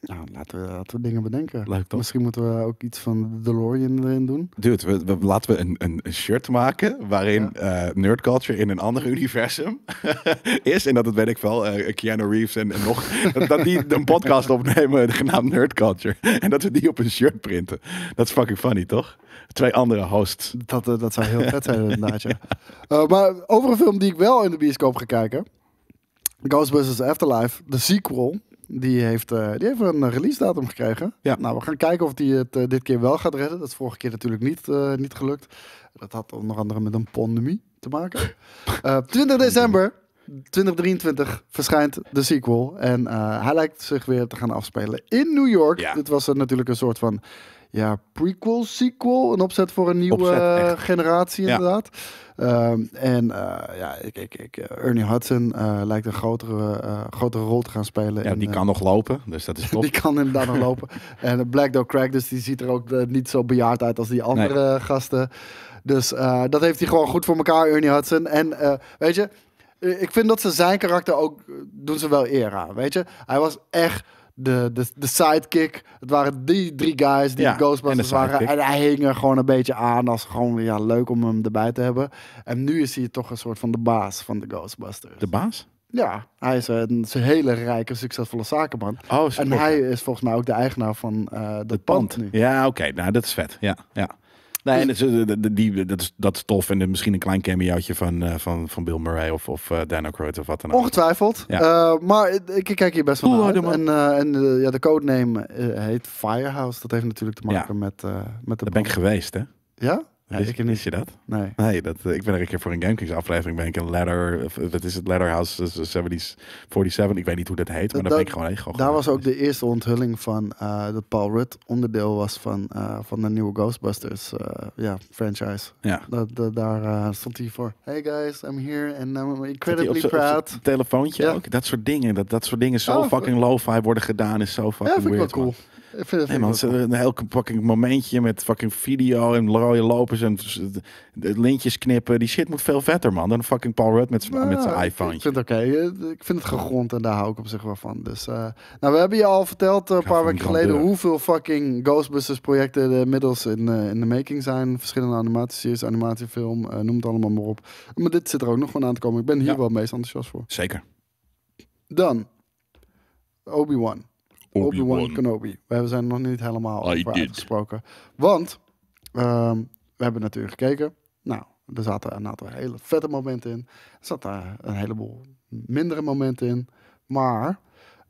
Nou, laten we, laten we dingen bedenken. Leuk toch? Misschien moeten we ook iets van de DeLorean erin doen. Dude, we, we- laten we een, een een shirt maken waarin eh, Nerd Culture in een [LAUGHS] ander universum [LAUGHS] is. En dat het, weet ik wel, eh, Keanu Reeves en, en nog... dat, dat die een podcast opnemen genaamd Nerd Culture. [LAUGHS] En dat we die op een shirt printen. Dat is fucking funny, toch? Twee andere hosts. Dat, eh, dat zou [LAUGHS] heel vet zijn inderdaad, ja. Eh, maar over een film die ik wel in de bioscoop ga kijken... Ghostbusters Afterlife, de sequel, die heeft, eh, die heeft een release datum gekregen. Ja. Nou, we gaan kijken of die het eh, dit keer wel gaat redden. Dat is vorige keer natuurlijk niet, eh, niet gelukt. Dat had onder andere met een pandemie te maken. [LAUGHS] Eh, 20 december 2023 verschijnt de sequel. En eh, hij lijkt zich weer te gaan afspelen in New York. Ja. Dit was eh, natuurlijk een soort van ja, prequel, sequel. Een opzet voor een nieuwe Opzet, eh, echt. generatie Ja. inderdaad. Ehm, en eh, ja, ik, ik, ik, eh, Ernie Hudson eh, lijkt een grotere, eh, grotere rol te gaan spelen. Ja, En, die eh, kan nog lopen, dus [LAUGHS] dat is top. die kan inderdaad nog [LAUGHS] lopen. En eh, Black Dog Craig, dus die ziet er ook eh, niet zo bejaard uit als die andere eh, gasten. Dus eh, dat heeft hij gewoon goed voor elkaar, Ernie Hudson. En eh, weet je, eh, ik vind dat ze zijn karakter ook, eh, doen ze wel eer aan, weet je. Hij was echt de, de, de sidekick. Het waren die drie guys die Ja, Ghostbusters en de waren. sidekick. En hij hing er gewoon een beetje aan als gewoon ja, leuk om hem erbij te hebben. En nu is hij toch een soort van de baas van de Ghostbusters. De baas? Ja, hij is eh, een, een hele rijke, succesvolle zakenman. Oh, zo. En hij is volgens mij ook de eigenaar van eh dat pand. nu. Dus Ja, oké. Nou, dat is vet. Ja, ja. Nee, en het is, eh, de- de- die, dat, is, dat is tof. En eh, misschien een klein cameootje van, eh, van, van Bill Murray of, of eh Dan Aykroyd of wat dan ook. Ongetwijfeld. Ja. Eh, maar ik ik kijk hier best wel naar Cool, uit. hoor, En, eh, en eh, ja, de codename eh, heet Firehouse. Dat heeft natuurlijk te maken met, eh, met de Daar ben ik geweest, hè? Ja? ja Wist- ik niet. wist je dat? Nee. Nee, dat, eh, ik ben er een keer voor een GameKings aflevering. Ben ik een ladder, of, eh, wat is het, Ladderhouse eh, 70s, 47. Ik weet niet hoe dat heet, maar Dat- daar ben ik gewoon heen. Gewoon Daar was geweest. ook de eerste onthulling van eh, dat Paul Rudd onderdeel was van, eh, van de nieuwe Ghostbusters eh, ja, franchise. Ja. Dat, dat- daar eh, stond hij voor. Hey guys, I'm here and I'm Dat hij op incredibly z'n- op z'n proud. telefoontje Ja. ook. Dat soort dingen. Dat, dat soort dingen zo Oh, fucking lo-fi worden gedaan is zo Ja, fucking vind ik wel weird, man. cool. Ik vind, Nee man, ze hebben een heel fucking momentje met fucking video en rode lopers en s- de- de lintjes knippen. Die shit moet veel vetter man dan fucking Paul Rudd met zijn Nou, met zijn ik- iPhone. Ik vind het oké. Eh, Ik vind het gegrond en daar hou ik op zich wel van. Dus, eh, nou, we hebben je al verteld eh, een ga paar voor weken die geleden grandeur. hoeveel fucking Ghostbusters projecten er inmiddels in, eh, in de making zijn. Verschillende animatieseries, animatiefilm, eh, noem het allemaal maar op. Maar dit zit er ook nog gewoon aan te komen. Ik ben hier Ja. wel het meest enthousiast voor. Zeker. Dan, Obi-Wan. Obi-Wan. Obi-Wan Kenobi. We zijn er nog niet helemaal I over did. uitgesproken. Want ehm, we hebben natuurlijk gekeken. Nou, er zaten een aantal hele vette momenten in. Er zat daar een heleboel mindere momenten in. Maar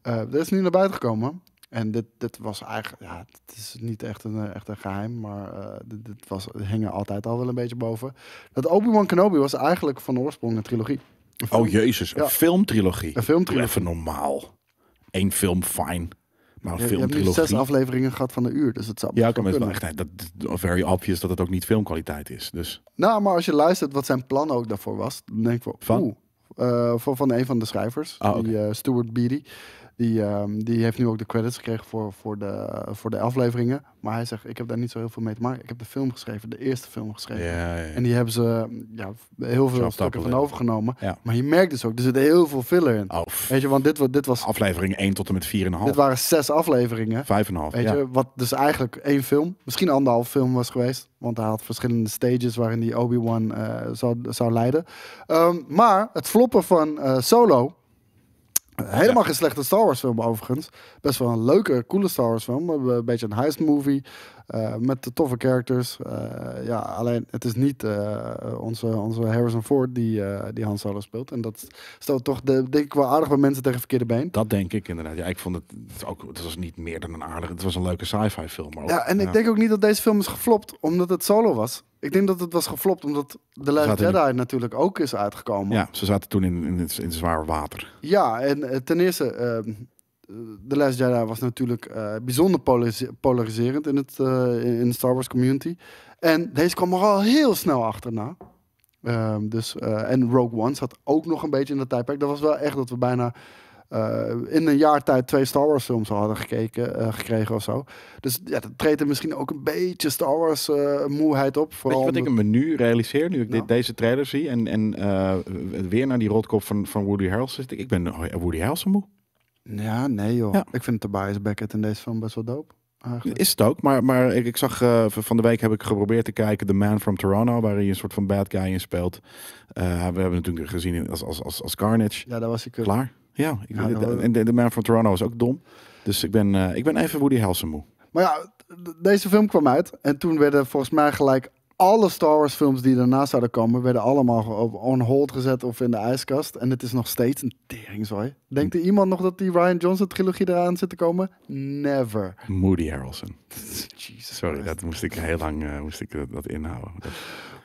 eh, er is nu naar buiten gekomen. En dit, dit was eigenlijk, ja, het is niet echt een, eh, echt een geheim, maar eh, dit, dit was, hing er altijd al wel een beetje boven. Dat Obi-Wan Kenobi was eigenlijk van oorsprong een trilogie. Een film. Oh jezus, een Ja. filmtrilogie. Een filmtrilogie. Doe Even normaal. Eén film, fijn. Maar een Je, je hebt nu filmtrilogie. zes afleveringen gehad van een uur, dus het zou ja, best ik kan wel het wel kunnen. echt. nee, Dat, dat- very obvious dat het ook niet filmkwaliteit is. Dus Nou, maar als je luistert wat zijn plan ook daarvoor was, dan denk ik wel, Van? oeh, eh, van, van een van de schrijvers, Ah, die, eh, Stuart Beatty. Die, ehm, die heeft nu ook de credits gekregen voor, voor, de, voor de afleveringen. Maar hij zegt, ik heb daar niet zo heel veel mee te maken. Ik heb de film geschreven, de eerste film geschreven. ja, ja. En die hebben ze ja, heel veel Sharp stukken Double, van hè? overgenomen. Ja. Maar je merkt dus ook, er zit heel veel filler in. Oh, f- Weet je, want dit, wa- dit, was, aflevering 1 tot en met 4,5. dit waren zes afleveringen. 5,5. Weet Ja. je, wat dus eigenlijk één film, misschien anderhalf film was geweest. Want hij had verschillende stages waarin die Obi-Wan eh, zou, zou leiden. Ehm, maar het floppen van eh, Solo. Helemaal geen slechte Star Wars film overigens. Best wel een leuke, coole Star Wars film. eh, Een beetje een heist movie. eh, met de toffe characters. Eh, ja, alleen het is niet eh, onze, onze Harrison Ford die, eh, die Han Solo speelt. En dat stoot toch de, denk ik wel aardig wat mensen tegen verkeerde been. Dat denk ik inderdaad. Ja, ik vond het, het ook. Het was niet meer dan een aardige. Het was een leuke sci-fi film. Maar ook- Ja, en ik denk ook niet dat deze film is geflopt omdat het solo was. Ik denk dat het was geflopt omdat The Last Zaten in- Jedi natuurlijk ook is uitgekomen. Ja, ze zaten toen in, in, het, in het zware water. Ja, en eh, ten eerste, ehm, eh, The Last Jedi was natuurlijk eh, bijzonder polarise- polariserend in, het, eh, in- in de Star Wars community. En deze kwam er al heel snel achterna. Ehm, dus, eh, en Rogue One zat ook nog een beetje in dat tijdperk. Dat was wel echt dat we bijna eh, in een jaar tijd twee Star Wars films al hadden gekeken, eh, gekregen of zo. Dus ja, dat treedt er misschien ook een beetje Star Wars eh, moeheid op. Weet Vooral je wat ik omdat- me nu realiseer, nu ik Nou. dit, deze trailer zie en, en eh, weer naar die rotkop van, van Woody Harrelson zit? Ik ben oh Woody Harrelson moe. Ja, nee joh. Ja. Ik vind Tobias Beckett in deze film best wel dope. Eigenlijk. Is het ook, maar, maar ik, ik zag eh, v- van de week heb ik geprobeerd te kijken The Man from Toronto, waar hij een soort van bad guy in speelt. Eh, we hebben hem natuurlijk gezien in- als, als, als, als Carnage. Ja, daar was ik. eh, Klaar? Ja, ik, Ja, nou, en de, de Man from Toronto is ook dom. Dus ik ben, eh, ik ben even Woody Harrelson moe. Maar ja, d- deze film kwam uit en toen werden volgens mij gelijk alle Star Wars films die daarna zouden komen, werden allemaal ge- op- on hold gezet of in de ijskast. En het is nog steeds een teringzooi. Denkt er iemand nog dat die Ryan Johnson trilogie eraan zit te komen? Never. Moody Harrelson. Jesus Sorry, dat moest ik heel lang eh, moest ik, eh, dat inhouden. Dat-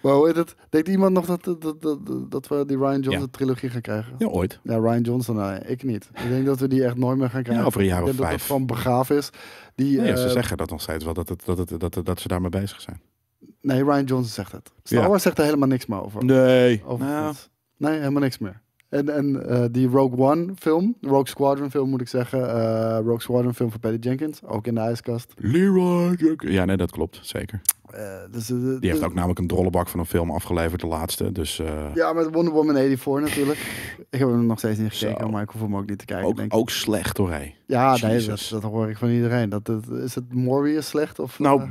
Maar hoe heet het? Denkt iemand nog dat, dat, dat, dat we die Ryan Johnson Ja. trilogie gaan krijgen? ja, ooit. Ja, Ryan Johnson, nee, ik niet. Ik denk dat we die echt nooit meer gaan krijgen. Ja, over een jaar ik of denk dat vijf. dat gewoon begraven is. Die, Nee, ze eh, zeggen dat nog steeds wel, dat, het, dat, het, dat, dat, dat ze daarmee bezig zijn. nee, Ryan Johnson zegt het. Star Ja. Wars zegt er helemaal niks meer over. Nee. Over Nou, iets. Nee, helemaal niks meer. En, en eh, die Rogue One film, Rogue Squadron film moet ik zeggen. eh, Rogue Squadron film van Patty Jenkins, ook in de ijskast. Leroy Jenkins. Ja, nee, dat klopt, zeker. Eh, dus, eh, eh, Die heeft ook namelijk een drollebak van een film afgeleverd, de laatste. Dus eh, Ja, met Wonder Woman 84 [LAUGHS] natuurlijk. ik heb hem nog steeds niet gekeken, Zo. maar ik hoef hem ook niet te kijken. ook, denk ik. ook slecht hoor, hé. Ja, nee, dat, Jezus. dat hoor ik van iedereen. Dat, dat- is het Morbius slecht? Of, Nou, eh,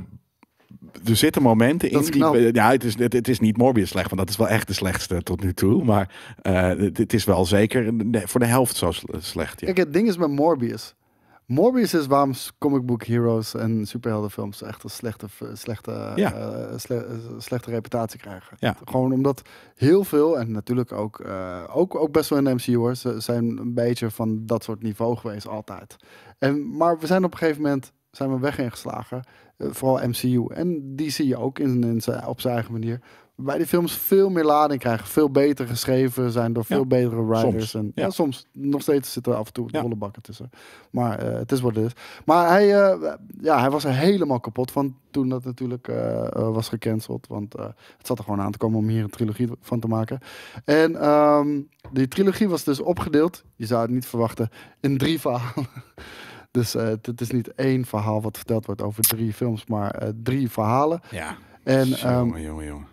er zitten momenten in Dat is die... knap. Ja, het is, het, het is niet Morbius slecht, want dat is wel echt de slechtste tot nu toe. Maar eh, het, het is wel zeker de- voor de helft zo sle- slecht, ja. Kijk, het ding is met Morbius. Morbius is waarom s- comic book heroes en superheldenfilms echt een slechte, v- slechte, Ja. eh, sle- eh, slechte reputatie krijgen. Ja. Gewoon omdat heel veel, en natuurlijk ook, eh, ook, ook best wel in de MCU hoor, ze zijn een beetje van dat soort niveau geweest altijd. En, maar we zijn op een gegeven moment zijn we weg ingeslagen. Eh, vooral MCU. En die zie je ook in, in zijn, op zijn eigen manier. Waarbij die films veel meer lading krijgen. Veel beter geschreven zijn door veel Ja. betere writers. Soms, En, ja. ja, soms. Nog steeds zitten er af en toe Ja. dolle bakken tussen. Maar eh, het is wat het is. Maar hij, eh, ja, hij was er helemaal kapot van toen dat natuurlijk eh, eh, was gecanceld. Want eh, het zat er gewoon aan te komen om hier een trilogie van te maken. En ehm, die trilogie was dus opgedeeld. Je zou het niet verwachten. In drie verhalen. [LAUGHS] Dus eh, het is niet één verhaal wat verteld wordt over drie films, maar eh, drie verhalen. Ja, En ehm, jongen, jongen, jongen.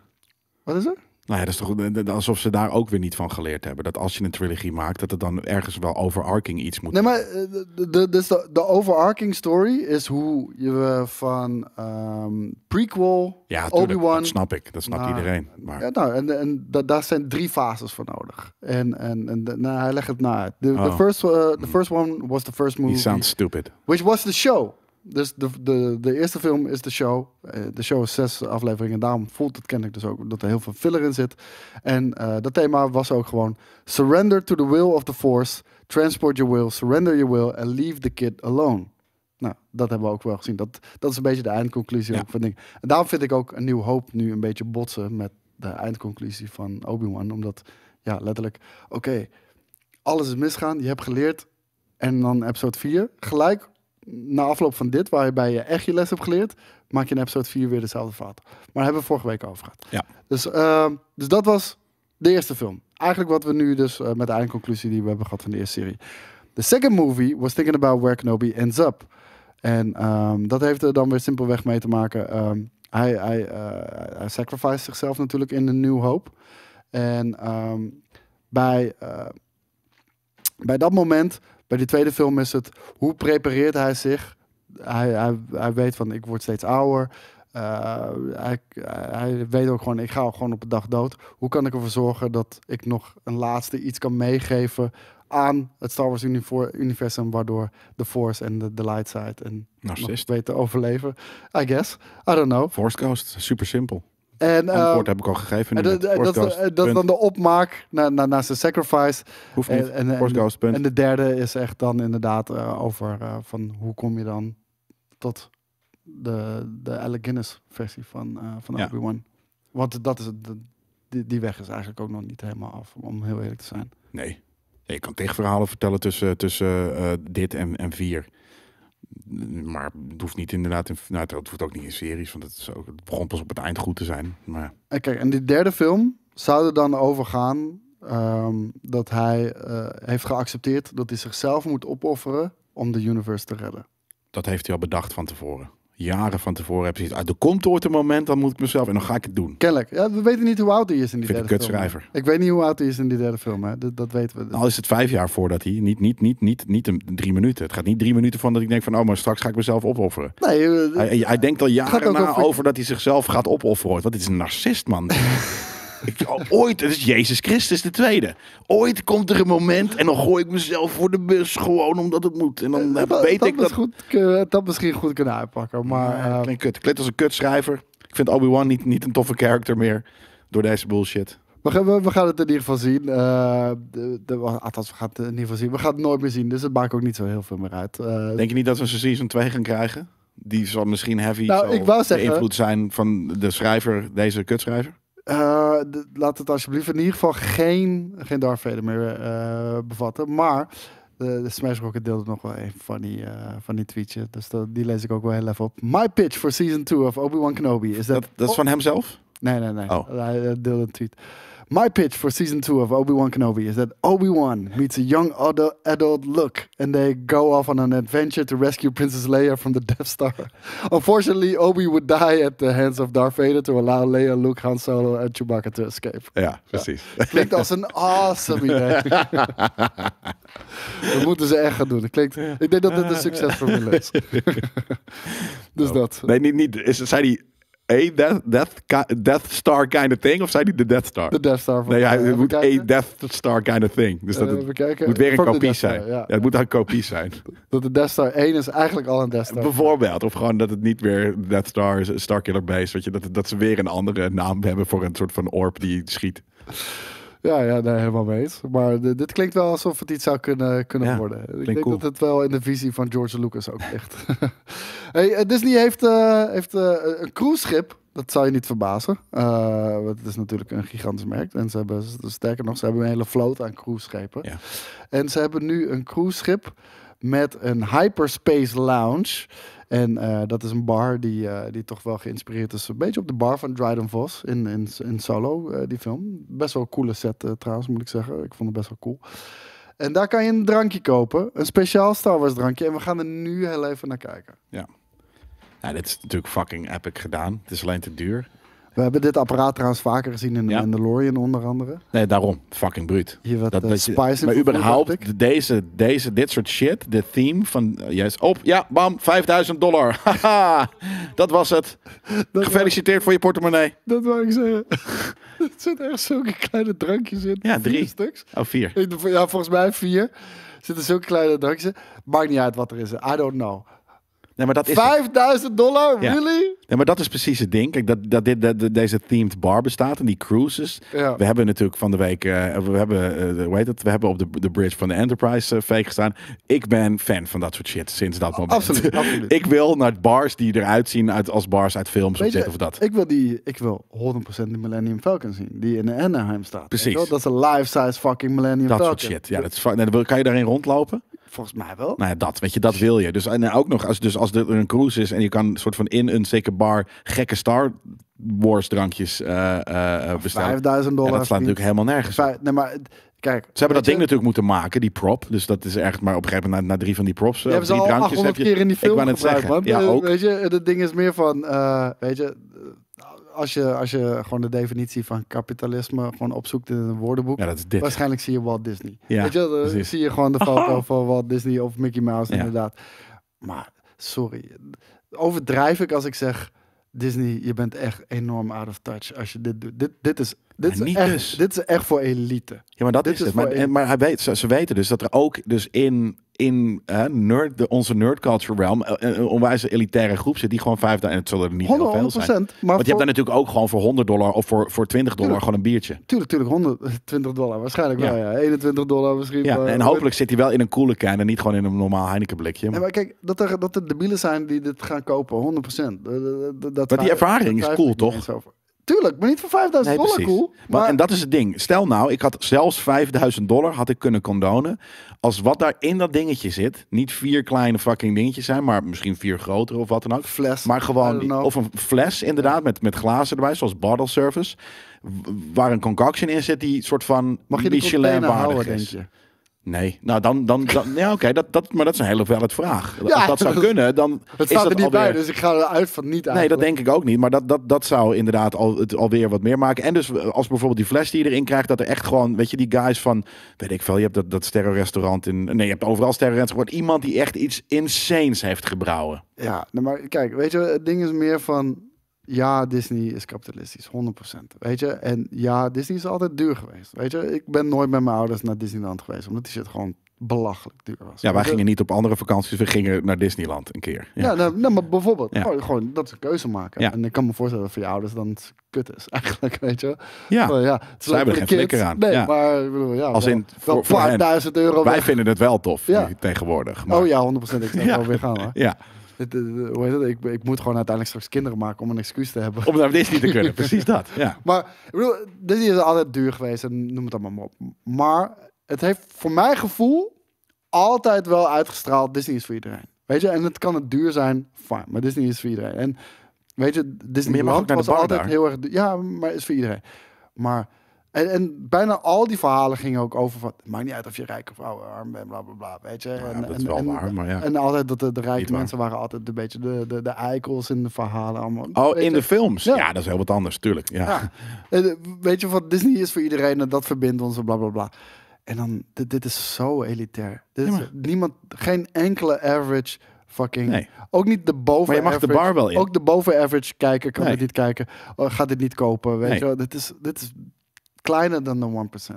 wat is er? Nou ja, dat is toch eh, eh, alsof ze daar ook weer niet van geleerd hebben. Dat als je een trilogie maakt, dat het dan ergens wel overarching iets moet. Nee, maar eh, de, de, dus de, de overarching story is hoe je eh, van ehm, prequel, ja, tuurlijk, Obi-Wan. dat snap ik. Dat snapt Maar- iedereen. Maar Ja, nou, en, en da- daar zijn drie fases voor nodig. En, en, en de- nou, hij legt het na uit. The, the Oh. first, eh, the first one was the first he movie. sounds stupid. Which was the show. Dus de, de, de eerste film is de show. Eh, De show is zes afleveringen. Daarom voelt het kennelijk dus ook dat er heel veel filler in zit. En eh, dat thema was ook gewoon... Surrender to the will of the force. Transport your will. Surrender your will. And leave the kid alone. Nou, dat hebben we ook wel gezien. Dat, dat is een beetje de eindconclusie Ja. ook van dingen. En daarom vind ik ook Een Nieuw Hoop nu een beetje botsen... met de eindconclusie van Obi-Wan. Omdat, ja, letterlijk... Oké, alles is misgaan. Je hebt geleerd. En dan episode 4. Gelijk na afloop van dit, waarbij je echt je les hebt geleerd, maak je in episode 4 weer dezelfde fout. Maar daar hebben we vorige week over gehad. Ja. Dus, ehm, dus dat was de eerste film. Eigenlijk wat we nu dus eh, met de eindconclusie die we hebben gehad van de eerste serie. The second movie was thinking about where Kenobi ends up. En ehm, dat heeft er dan weer simpelweg mee te maken. ehm, hij, hij, eh hij sacrificed zichzelf natuurlijk in de New Hope. En ehm, bij, eh, bij dat moment, bij die tweede film, is het hoe prepareert hij zich? Hij, hij, hij weet van ik word steeds ouder. Eh, hij, hij weet ook gewoon, ik ga gewoon op de dag dood. Hoe kan ik ervoor zorgen dat ik nog een laatste iets kan meegeven aan het Star Wars univo- universum, waardoor de Force en de, de Light Side en nog Narcist. beter overleven. I guess. I don't know. Force Ghost, super simpel. En, eh, Antwoord heb ik al gegeven. en nu dat- eh, net. Force dat, dat, Ghost, dat, is punt. dan de opmaak naar, naar, naar zijn sacrifice. Hoeft niet. En, en, Force en, Ghost, punt. en de derde is echt dan inderdaad eh, over eh, van hoe kom je dan tot de, de Alec Guinness versie van, eh van Ja. Obi-Wan. Want dat is het, de- die, die weg is eigenlijk ook nog niet helemaal af, om heel eerlijk te zijn. Nee. Ja, Je kan tegenverhalen vertellen tussen, tussen eh, dit en, en vier. Maar het hoeft niet inderdaad... In, nou, het hoeft ook niet in series, want het, is ook, het begon pas op het eind goed te zijn. Maar En Eh, kijk, en die derde film zou er dan over gaan ehm, dat hij eh, heeft geaccepteerd dat hij zichzelf moet opofferen om de universe te redden. dat heeft hij al bedacht van tevoren. Jaren van tevoren heb je zoiets. ah, Er komt ooit een moment, dan moet ik mezelf... En dan ga ik het doen. Kennelijk. Ja, we weten niet hoe oud hij is in die Vind ik derde een film. kutschrijver. Nou. Ik weet niet hoe oud hij is in die derde film, hè. Dat, dat weten we. Al is het vijf jaar voordat hij... Niet, niet, niet, niet, niet een, drie minuten. Het gaat niet drie minuten van dat ik denk van... Oh, maar straks ga ik mezelf opofferen. Nee, eh, Hij, hij denkt al Gaat jaren ook na over- over... dat hij zichzelf gaat opofferen. ooit. Want dit is een narcist, [LAUGHS] man. ik, o- ooit, het is Jezus Christus de tweede. Ooit komt er een moment en dan gooi ik mezelf voor de bus gewoon omdat het moet. En dan eh, weet dat ik dat... Goed, kun- dat misschien goed kunnen uitpakken. Maar Maar, eh, klinkt kut. Klinkt als een kutschrijver. Ik vind Obi-Wan niet, niet een toffe character meer door deze bullshit. We gaan, we, we gaan het in ieder geval zien. Eh, de, de, althans, we gaan het in ieder geval zien. We gaan het nooit meer zien, dus het maakt ook niet zo heel veel meer uit. Eh, Denk je niet dat we een season 2 gaan krijgen? Die zal misschien heavy Nou, zal ik wou zeggen- beïnvloed zijn van de schrijver, deze kutschrijver. Eh, d- laat het alsjeblieft in ieder geval geen, geen Darth Vader meer eh, bevatten. Maar eh, de, de Smash Rocket deelde nog wel een van die, eh, van die tweetje. Dus dat- die lees ik ook wel heel even op. My pitch for season 2 of Obi-Wan Kenobi is Dat, dat is van hemzelf? Nee, nee, nee. Oh. Hij eh, deelde een tweet. My pitch for season 2 of Obi-Wan Kenobi is that Obi-Wan meets a young adult, adult look and they go off on an adventure to rescue Princess Leia from the [LAUGHS] Death Star. Unfortunately, Obi would die at the hands of Darth Vader to allow Leia, Luke, Han Solo en Chewbacca to [LAUGHS] escape. Ja, precies. Klinkt als een awesome [LAUGHS] idee. dat moeten ze echt gaan doen. Dat klinkt, ik denk dat dit een succesformule [LAUGHS] is. [LAUGHS] dus dat. Nou, Nee, niet, niet. Is, zei die a death, death, ki- death Star kind of thing? Of zei die de Death Star? De Death Star. van- nee, hij Even het moet kijken. a Death Star kind of thing. Dus dat Eh, het even kijken. moet weer een From the kopie Death Star, zijn. ja. Ja, het moet een kopie zijn. [LAUGHS] Dat de Death Star 1 is eigenlijk al een Death Star. Bijvoorbeeld. Of gewoon dat het niet weer Death Star is, Starkiller Base. Weet je, dat, dat ze weer een andere naam hebben voor een soort van orb die schiet. ja, ja, nee, helemaal mee eens. Maar de- dit klinkt wel alsof het iets zou kunnen, kunnen Ja, worden. Ik klinkt denk cool. dat het wel in de visie van George Lucas ook ligt. [LAUGHS] hey, eh, Disney heeft, eh, heeft eh, een cruiseschip. Dat zou je niet verbazen. Eh, want het is natuurlijk een gigantisch merk. En ze hebben, sterker nog, ze hebben een hele vloot aan cruiseschepen. Ja. En ze hebben nu een cruiseschip met een hyperspace lounge. En eh, dat is een bar die, eh, die toch wel geïnspireerd is. Een beetje op de bar van Dryden Vos in, in, in Solo, eh, die film. Best wel een coole set eh, trouwens, moet ik zeggen. Ik vond het best wel cool. En daar kan je een drankje kopen. Een speciaal Star Wars drankje. En we gaan er nu heel even naar kijken. Ja, dit is natuurlijk fucking epic gedaan. Het is alleen te duur. We hebben dit apparaat trouwens vaker gezien in de Ja. Mandalorian onder andere. Nee, daarom. Fucking bruut. Hier wat Dat, eh, dat je- spice in maar vervoerd, dacht ik. überhaupt, deze, deze, dit soort shit, dit theme van eh, juist op, ja, bam, 5000 dollar. [LAUGHS] Haha, dat was het. Gefeliciteerd voor je portemonnee. Dat wou ik zeggen. [LAUGHS] er zitten echt zulke kleine drankjes in. Ja, Vier drie. stuks. Oh, vier. Ik- Ja, volgens mij vier. Er zitten zulke kleine drankjes in. Maakt niet uit wat er is. I don't know. Nee, maar dat is, 5000 dollar? Ja. Really? nee, maar dat is precies het ding. Kijk, dat, dat, dit, dat, dat deze themed bar bestaat en die cruises. Ja. We hebben natuurlijk van de week, eh, we hebben, eh, de- hoe heet het? We hebben op de, de bridge van de Enterprise eh, fake gestaan. Ik ben fan van dat soort shit sinds dat moment. [LAUGHS] absoluut, absoluut. Ik wil naar bars die eruit zien uit, als bars uit films Weet of dit je, of dat. Ik wil, die, ik wil 100% die Millennium Falcon zien. Die in Anaheim staat. Precies. Weet je wel? Dat is een life-size fucking Millennium Dat Falcon. soort shit. Ja, dat is, fa- nee, dan wil- kan je daarin rondlopen? Volgens mij wel. Nou ja, dat. Weet je, dat wil je. Dus, en ook nog, als, dus als er een cruise is en je kan een soort van in een zeker bar gekke Star Wars drankjes eh, eh, eh, bestellen. 5000 dollar. Ja, dat slaat vriend. natuurlijk helemaal nergens op. Vij- Nee, maar het- kijk. Ze hebben dat ding weet je, natuurlijk moeten maken, die prop. Dus dat is echt, maar op een gegeven moment na, na drie van die props, eh, Die of hebben ze drie al drankjes 800 heb je. keer in die film ik wou net gebruikt, zeggen, ja, man. Eh, ook. Weet je, het ding is meer van, eh, weet je, eh, als je, als je gewoon de definitie van kapitalisme gewoon opzoekt in een woordenboek, Ja, dat is dit. waarschijnlijk zie je Walt Disney. Ja, weet je, dan precies. Oh. zie je gewoon de foto van Walt Disney of Mickey Mouse Ja. inderdaad. Maar, sorry, overdrijf ik als ik zeg, Disney, je bent echt enorm out of touch als je dit doet. Dit, dit, is, dit, Maar is, niet echt, dus. dit is echt voor elite. Ja, maar dat Dit is, is het. Maar, voor- en- maar hij weet, ze, ze weten dus dat er ook dus in, in hè, nerd, de, onze nerd culture realm eh, een, een onwijs elitaire groep zit die gewoon vijf en het zullen er niet 100%. heel veel zijn. Maar Want je voor- hebt daar natuurlijk ook gewoon voor 100 dollar of voor, voor 20 dollar gewoon een biertje. Tuurlijk, tuurlijk, 120 dollar waarschijnlijk Ja. wel, ja. 21 dollar misschien. eh, Ja, maar- en hopelijk zit hij wel in een coole can en niet gewoon in een normaal Heineken blikje. Nee, Maar, maar kijk, dat er, dat er debielen zijn die dit gaan kopen, 100 Dat, dat, dat Maar die ervaring is twijfel cool, ik niet toch? eens over. Tuurlijk, maar niet voor 5000 dollar cool. Maar, en dat is het ding. Stel nou, ik had zelfs 5000 dollar had ik kunnen condonen. Als wat daar in dat dingetje zit, niet vier kleine fucking dingetjes zijn, maar misschien vier grotere of wat dan ook. Fles, Maar I don't gewoon, know. of een fles inderdaad, met, met glazen erbij, zoals bottle service. w- Waar een concoction in zit die soort van Mag je die Michelin container houden, waardig denk is. je? Nee, nou dan, dan, dan ja oké, dat, dat, maar dat is een hele valid [LAUGHS] vraag. Als dat zou dat- kunnen, dan Het is staat dat er niet alweer... bij, dus ik ga eruit van niet Nee, eigenlijk. dat denk ik ook niet. Maar dat, dat, dat zou inderdaad al, het alweer wat meer maken. En dus eh, als bijvoorbeeld die fles die je erin krijgt, dat er echt gewoon, weet je, die guys van, weet ik veel, je hebt dat, dat sterrenrestaurant in, nee, je hebt overal sterrenrestaurant, iemand die echt iets insanes heeft gebrouwen. Ja, nou, maar kijk, weet je, het ding is meer van... Ja, Disney is kapitalistisch, 100%. Weet je, en ja, Disney is altijd duur geweest. Weet je, ik ben nooit met mijn ouders naar Disneyland geweest, omdat die shit gewoon belachelijk duur was. Ja, wij De- gingen niet op andere vakanties. We gingen naar Disneyland een keer. Ja, nou, nou, maar bijvoorbeeld, Ja. gewoon, gewoon dat ze een keuze maken. Ja. En ik kan me voorstellen dat voor je ouders dan het kut is, [LAUGHS] eigenlijk, weet je. Ja. Van, ja het is Zij leuk hebben voor de geen kids. flikker aan. Nee, Ja. maar ik bedoel, ja, Als wel- in wel voor- voor een paar hen. duizend euro Wij weg. vinden het wel tof Ja. nu tegenwoordig. maar- Oh ja, 100%. Ik zou wel weer gaan, hoor. ja. Dit- dit- dit- hoe heet dat? Ik, ik moet gewoon uiteindelijk straks kinderen maken om een excuus te hebben. Om naar Disney te kunnen. Precies dat. Ja. Maar ik bedoel, Disney is altijd duur geweest en noem het allemaal maar op. Maar het heeft voor mijn gevoel altijd wel uitgestraald: Disney is voor iedereen. Weet je, en het kan het duur zijn, fijn, maar Disney is voor iedereen. En weet je, Disney mag ook naar de was bar altijd daar. heel erg duur. Ja, maar is voor iedereen. Maar. En, en bijna al die verhalen gingen ook over van... het maakt niet uit of je rijk of oude arm bent, bla bla bla, weet je. ja, en, dat is en- wel en- waar, maar ja. En altijd dat de, de Niet rijke waar. mensen waren altijd een beetje de, de, de eikels in de verhalen allemaal. Oh, Weet in je? de films. Ja. Ja. dat is heel wat anders, tuurlijk. Ja. Ja. Eh, de- Weet je wat? Disney is voor iedereen en dat verbindt ons en bla bla bla. En dan, dit, dit is zo elitair. Dit is, Ja, maar- niemand, geen enkele average fucking. Nee. Ook niet de boven. Maar je mag de average- bar wel in. Ook de boven average kijker kan Nee. dit niet kijken. Oh, gaat dit niet kopen. Weet Nee. je wel? Dit is, dit is kleiner dan de 1%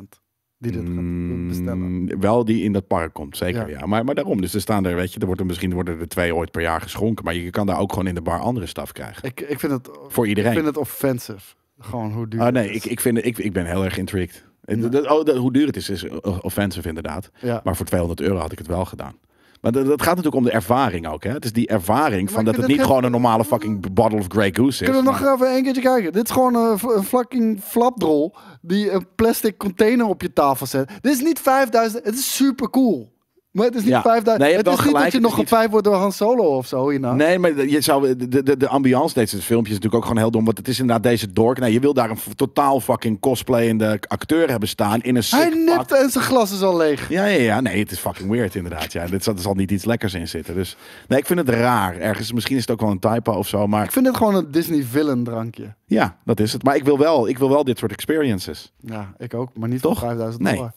die dit gaat Mm, bestellen. wel die in dat park komt, zeker. eh, Ja. Ja. Maar, maar daarom, dus er staan er, weet je, er wordt er misschien worden er twee ooit per jaar geschonken. Maar je kan daar ook gewoon in de bar andere staf krijgen. Ik, ik, vind het, Voor ik iedereen. vind het offensive. Gewoon hoe duur. Ah, het nee, is. ik, ik, vind, ik, ik ben heel erg intrigued. Eh, dat- oh, dat- hoe duur het is, is offensive inderdaad. Ja. Maar voor 200 euro had ik het wel gedaan. Maar dat, dat gaat natuurlijk om de ervaring ook. Hè? Het is die ervaring maar van ik dat vind het niet het gewoon geen- een normale fucking bottle of Grey Goose is. Kunnen we maar- nog even een keertje kijken? Dit is gewoon een, v- een fucking flapdrol die een plastic container op je tafel zet. Dit is niet 5000, het is super cool. Maar het is niet Ja. 5000. Nee, je het hebt is wel niet dat gelijk, je het is nog niet- gepijpt wordt door Han Solo of zo hierna. Nee, maar je zou, de, de, de ambiance deze filmpjes is natuurlijk ook gewoon heel dom. Want het is inderdaad deze dork. Nou, je wil daar een f- totaal fucking cosplayende acteur hebben staan in een sick Hij pak. nipt en zijn glas is al leeg. Ja, ja, ja. Nee, het is fucking weird inderdaad. Ja, dit zal- er zal niet iets lekkers in zitten. Dus nee, ik vind het raar. Ergens, misschien is het ook wel een typo of zo. Maar Ik vind dit gewoon een Disney villain drankje. ja, dat is het. Maar ik wil wel, ik wil wel dit soort experiences. Ja, ik ook, maar niet Toch? voor 5000 Nee. dollar.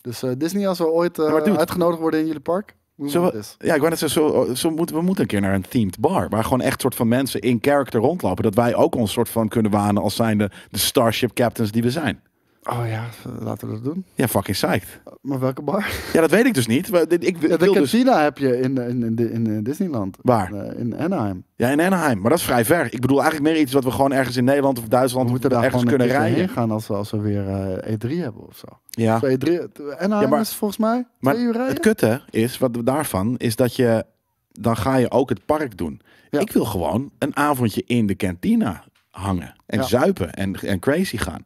Dus eh, Disney, als we ooit eh, Ja, maar dude- uitgenodigd worden in jullie park, hoe Zo, moet het ja, ik wou net zeggen, zo, zo moeten we moeten een keer naar een themed bar. Waar gewoon echt soort van mensen in character rondlopen. Dat wij ook ons soort van kunnen wanen als zijnde de Starship Captains die we zijn. Oh ja, eh, laten we dat doen. Ja, fucking psyched. Maar welke bar? Ja, dat weet ik dus niet. Maar dit- Ik, Ja, de wil dus... cantina heb je in, in, in, in, in Disneyland. Waar? Eh, in Anaheim. Ja, in Anaheim. Maar dat is vrij ver. Ik bedoel eigenlijk meer iets wat we gewoon ergens in Nederland of Duitsland We moeten daar ergens gewoon kunnen een keertje rijden. heen gaan als we, als we weer eh, E3 hebben of zo. Ja. Als we E3, en Ja, maar- is volgens mij Maar twee uur rijden. het kutte is, wat daarvan, is dat je... Dan ga je ook het park doen. Ja. Ik wil gewoon een avondje in de kantina hangen. En Ja. zuipen en, en crazy gaan.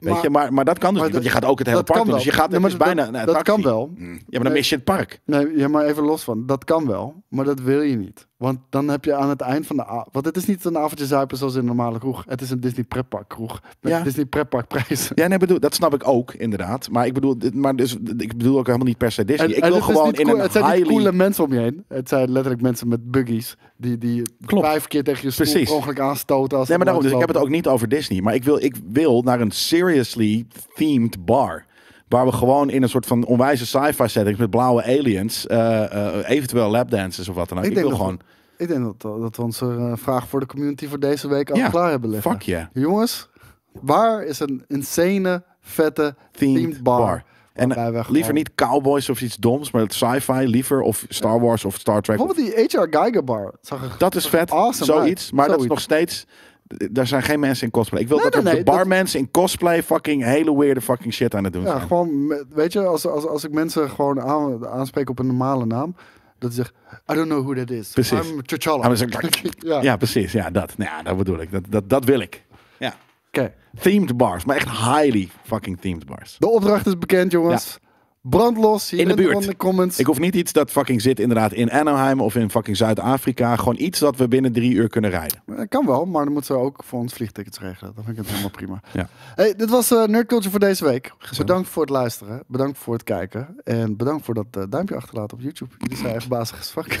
Weet Maar- je, maar, maar dat kan dus maar niet. Want je dat- gaat ook het hele dat park kan doen. Dus je wel. gaat Ja, het maar is dat- bijna een dat attractie. kan wel. Mm. Ja, maar dan Nee. mis je het park. Nee, ja, maar even los van. Dat kan wel, maar dat wil je niet. Want dan heb je aan het eind van de avond... Want het is niet een avondje zuipen zoals in een normale kroeg. Het is een Disney pretpark kroeg. Met Ja. Disney pretpark prijzen. Ja, nee, bedoel, dat snap ik ook, inderdaad. Maar ik bedoel, dit- maar dus, ik bedoel ook helemaal niet per se Disney. ik wil het is gewoon niet in cool- een Het zijn niet highly- coole mensen om je heen. Het zijn letterlijk mensen met buggies. Die, die Klopt. vijf keer tegen je stoel Precies. per ongeluk aanstoten. Als Nee, maar ze daarom, dus ik heb het langslopen. ook niet over Disney. Maar ik wil, ik wil naar een seriously themed bar. Waar we gewoon in een soort van onwijze sci-fi setting met blauwe aliens, eh, eh, eventueel lapdances of wat dan ook. Ik, Ik denk wil dat gewoon, Ik denk dat, dat we onze eh, vraag voor de community voor deze week al Ja, klaar hebben liggen. fuck yeah. Jongens, waar is een insane, vette themed, bar. En eh, waarbij we liever gewoon- niet cowboys of iets doms, maar sci-fi liever of Star Wars of Star Trek. of- Bijvoorbeeld die H.R. Geiger bar. Zag er... dat is vet, Awesome, zoiets. right. Maar dat is Zoiets. nog steeds, d- daar zijn geen mensen in cosplay. Ik wil Nee, dat nee, er nee, de bar dat- mensen in cosplay fucking hele weirde fucking shit aan het doen Ja, zijn. gewoon, met- weet je, als, als, als ik mensen gewoon aan, aanspreek op een normale naam, dat ze zeggen, I don't know who that is. Precies. I'm T'Challa. Ah, maar ze- [LAUGHS] ja, ja. precies. Ja, dat. Nou, ja, dat bedoel ik. Dat, dat, dat wil ik. Ja. oké. Themed bars, maar echt highly fucking themed bars. De opdracht is bekend, jongens. Brand los hier In de buurt. de comments. Ik hoef niet iets dat fucking zit inderdaad in Anaheim of in fucking Zuid-Afrika. Gewoon iets dat we binnen drie uur kunnen rijden. Dat Eh, kan wel, maar dan moeten ze ook voor ons vliegtickets regelen. Dan vind ik het helemaal prima. Ja. Hey, dit was eh Nerd Culture voor deze week. Bedankt voor het luisteren. Bedankt voor het kijken. En bedankt voor dat eh, duimpje achterlaten op YouTube. Jullie zijn echt bazig as fuck.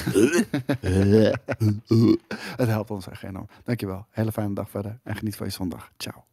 [LAUGHS] het helpt ons echt enorm. Dankjewel. Hele fijne dag verder. En geniet van je zondag. Ciao.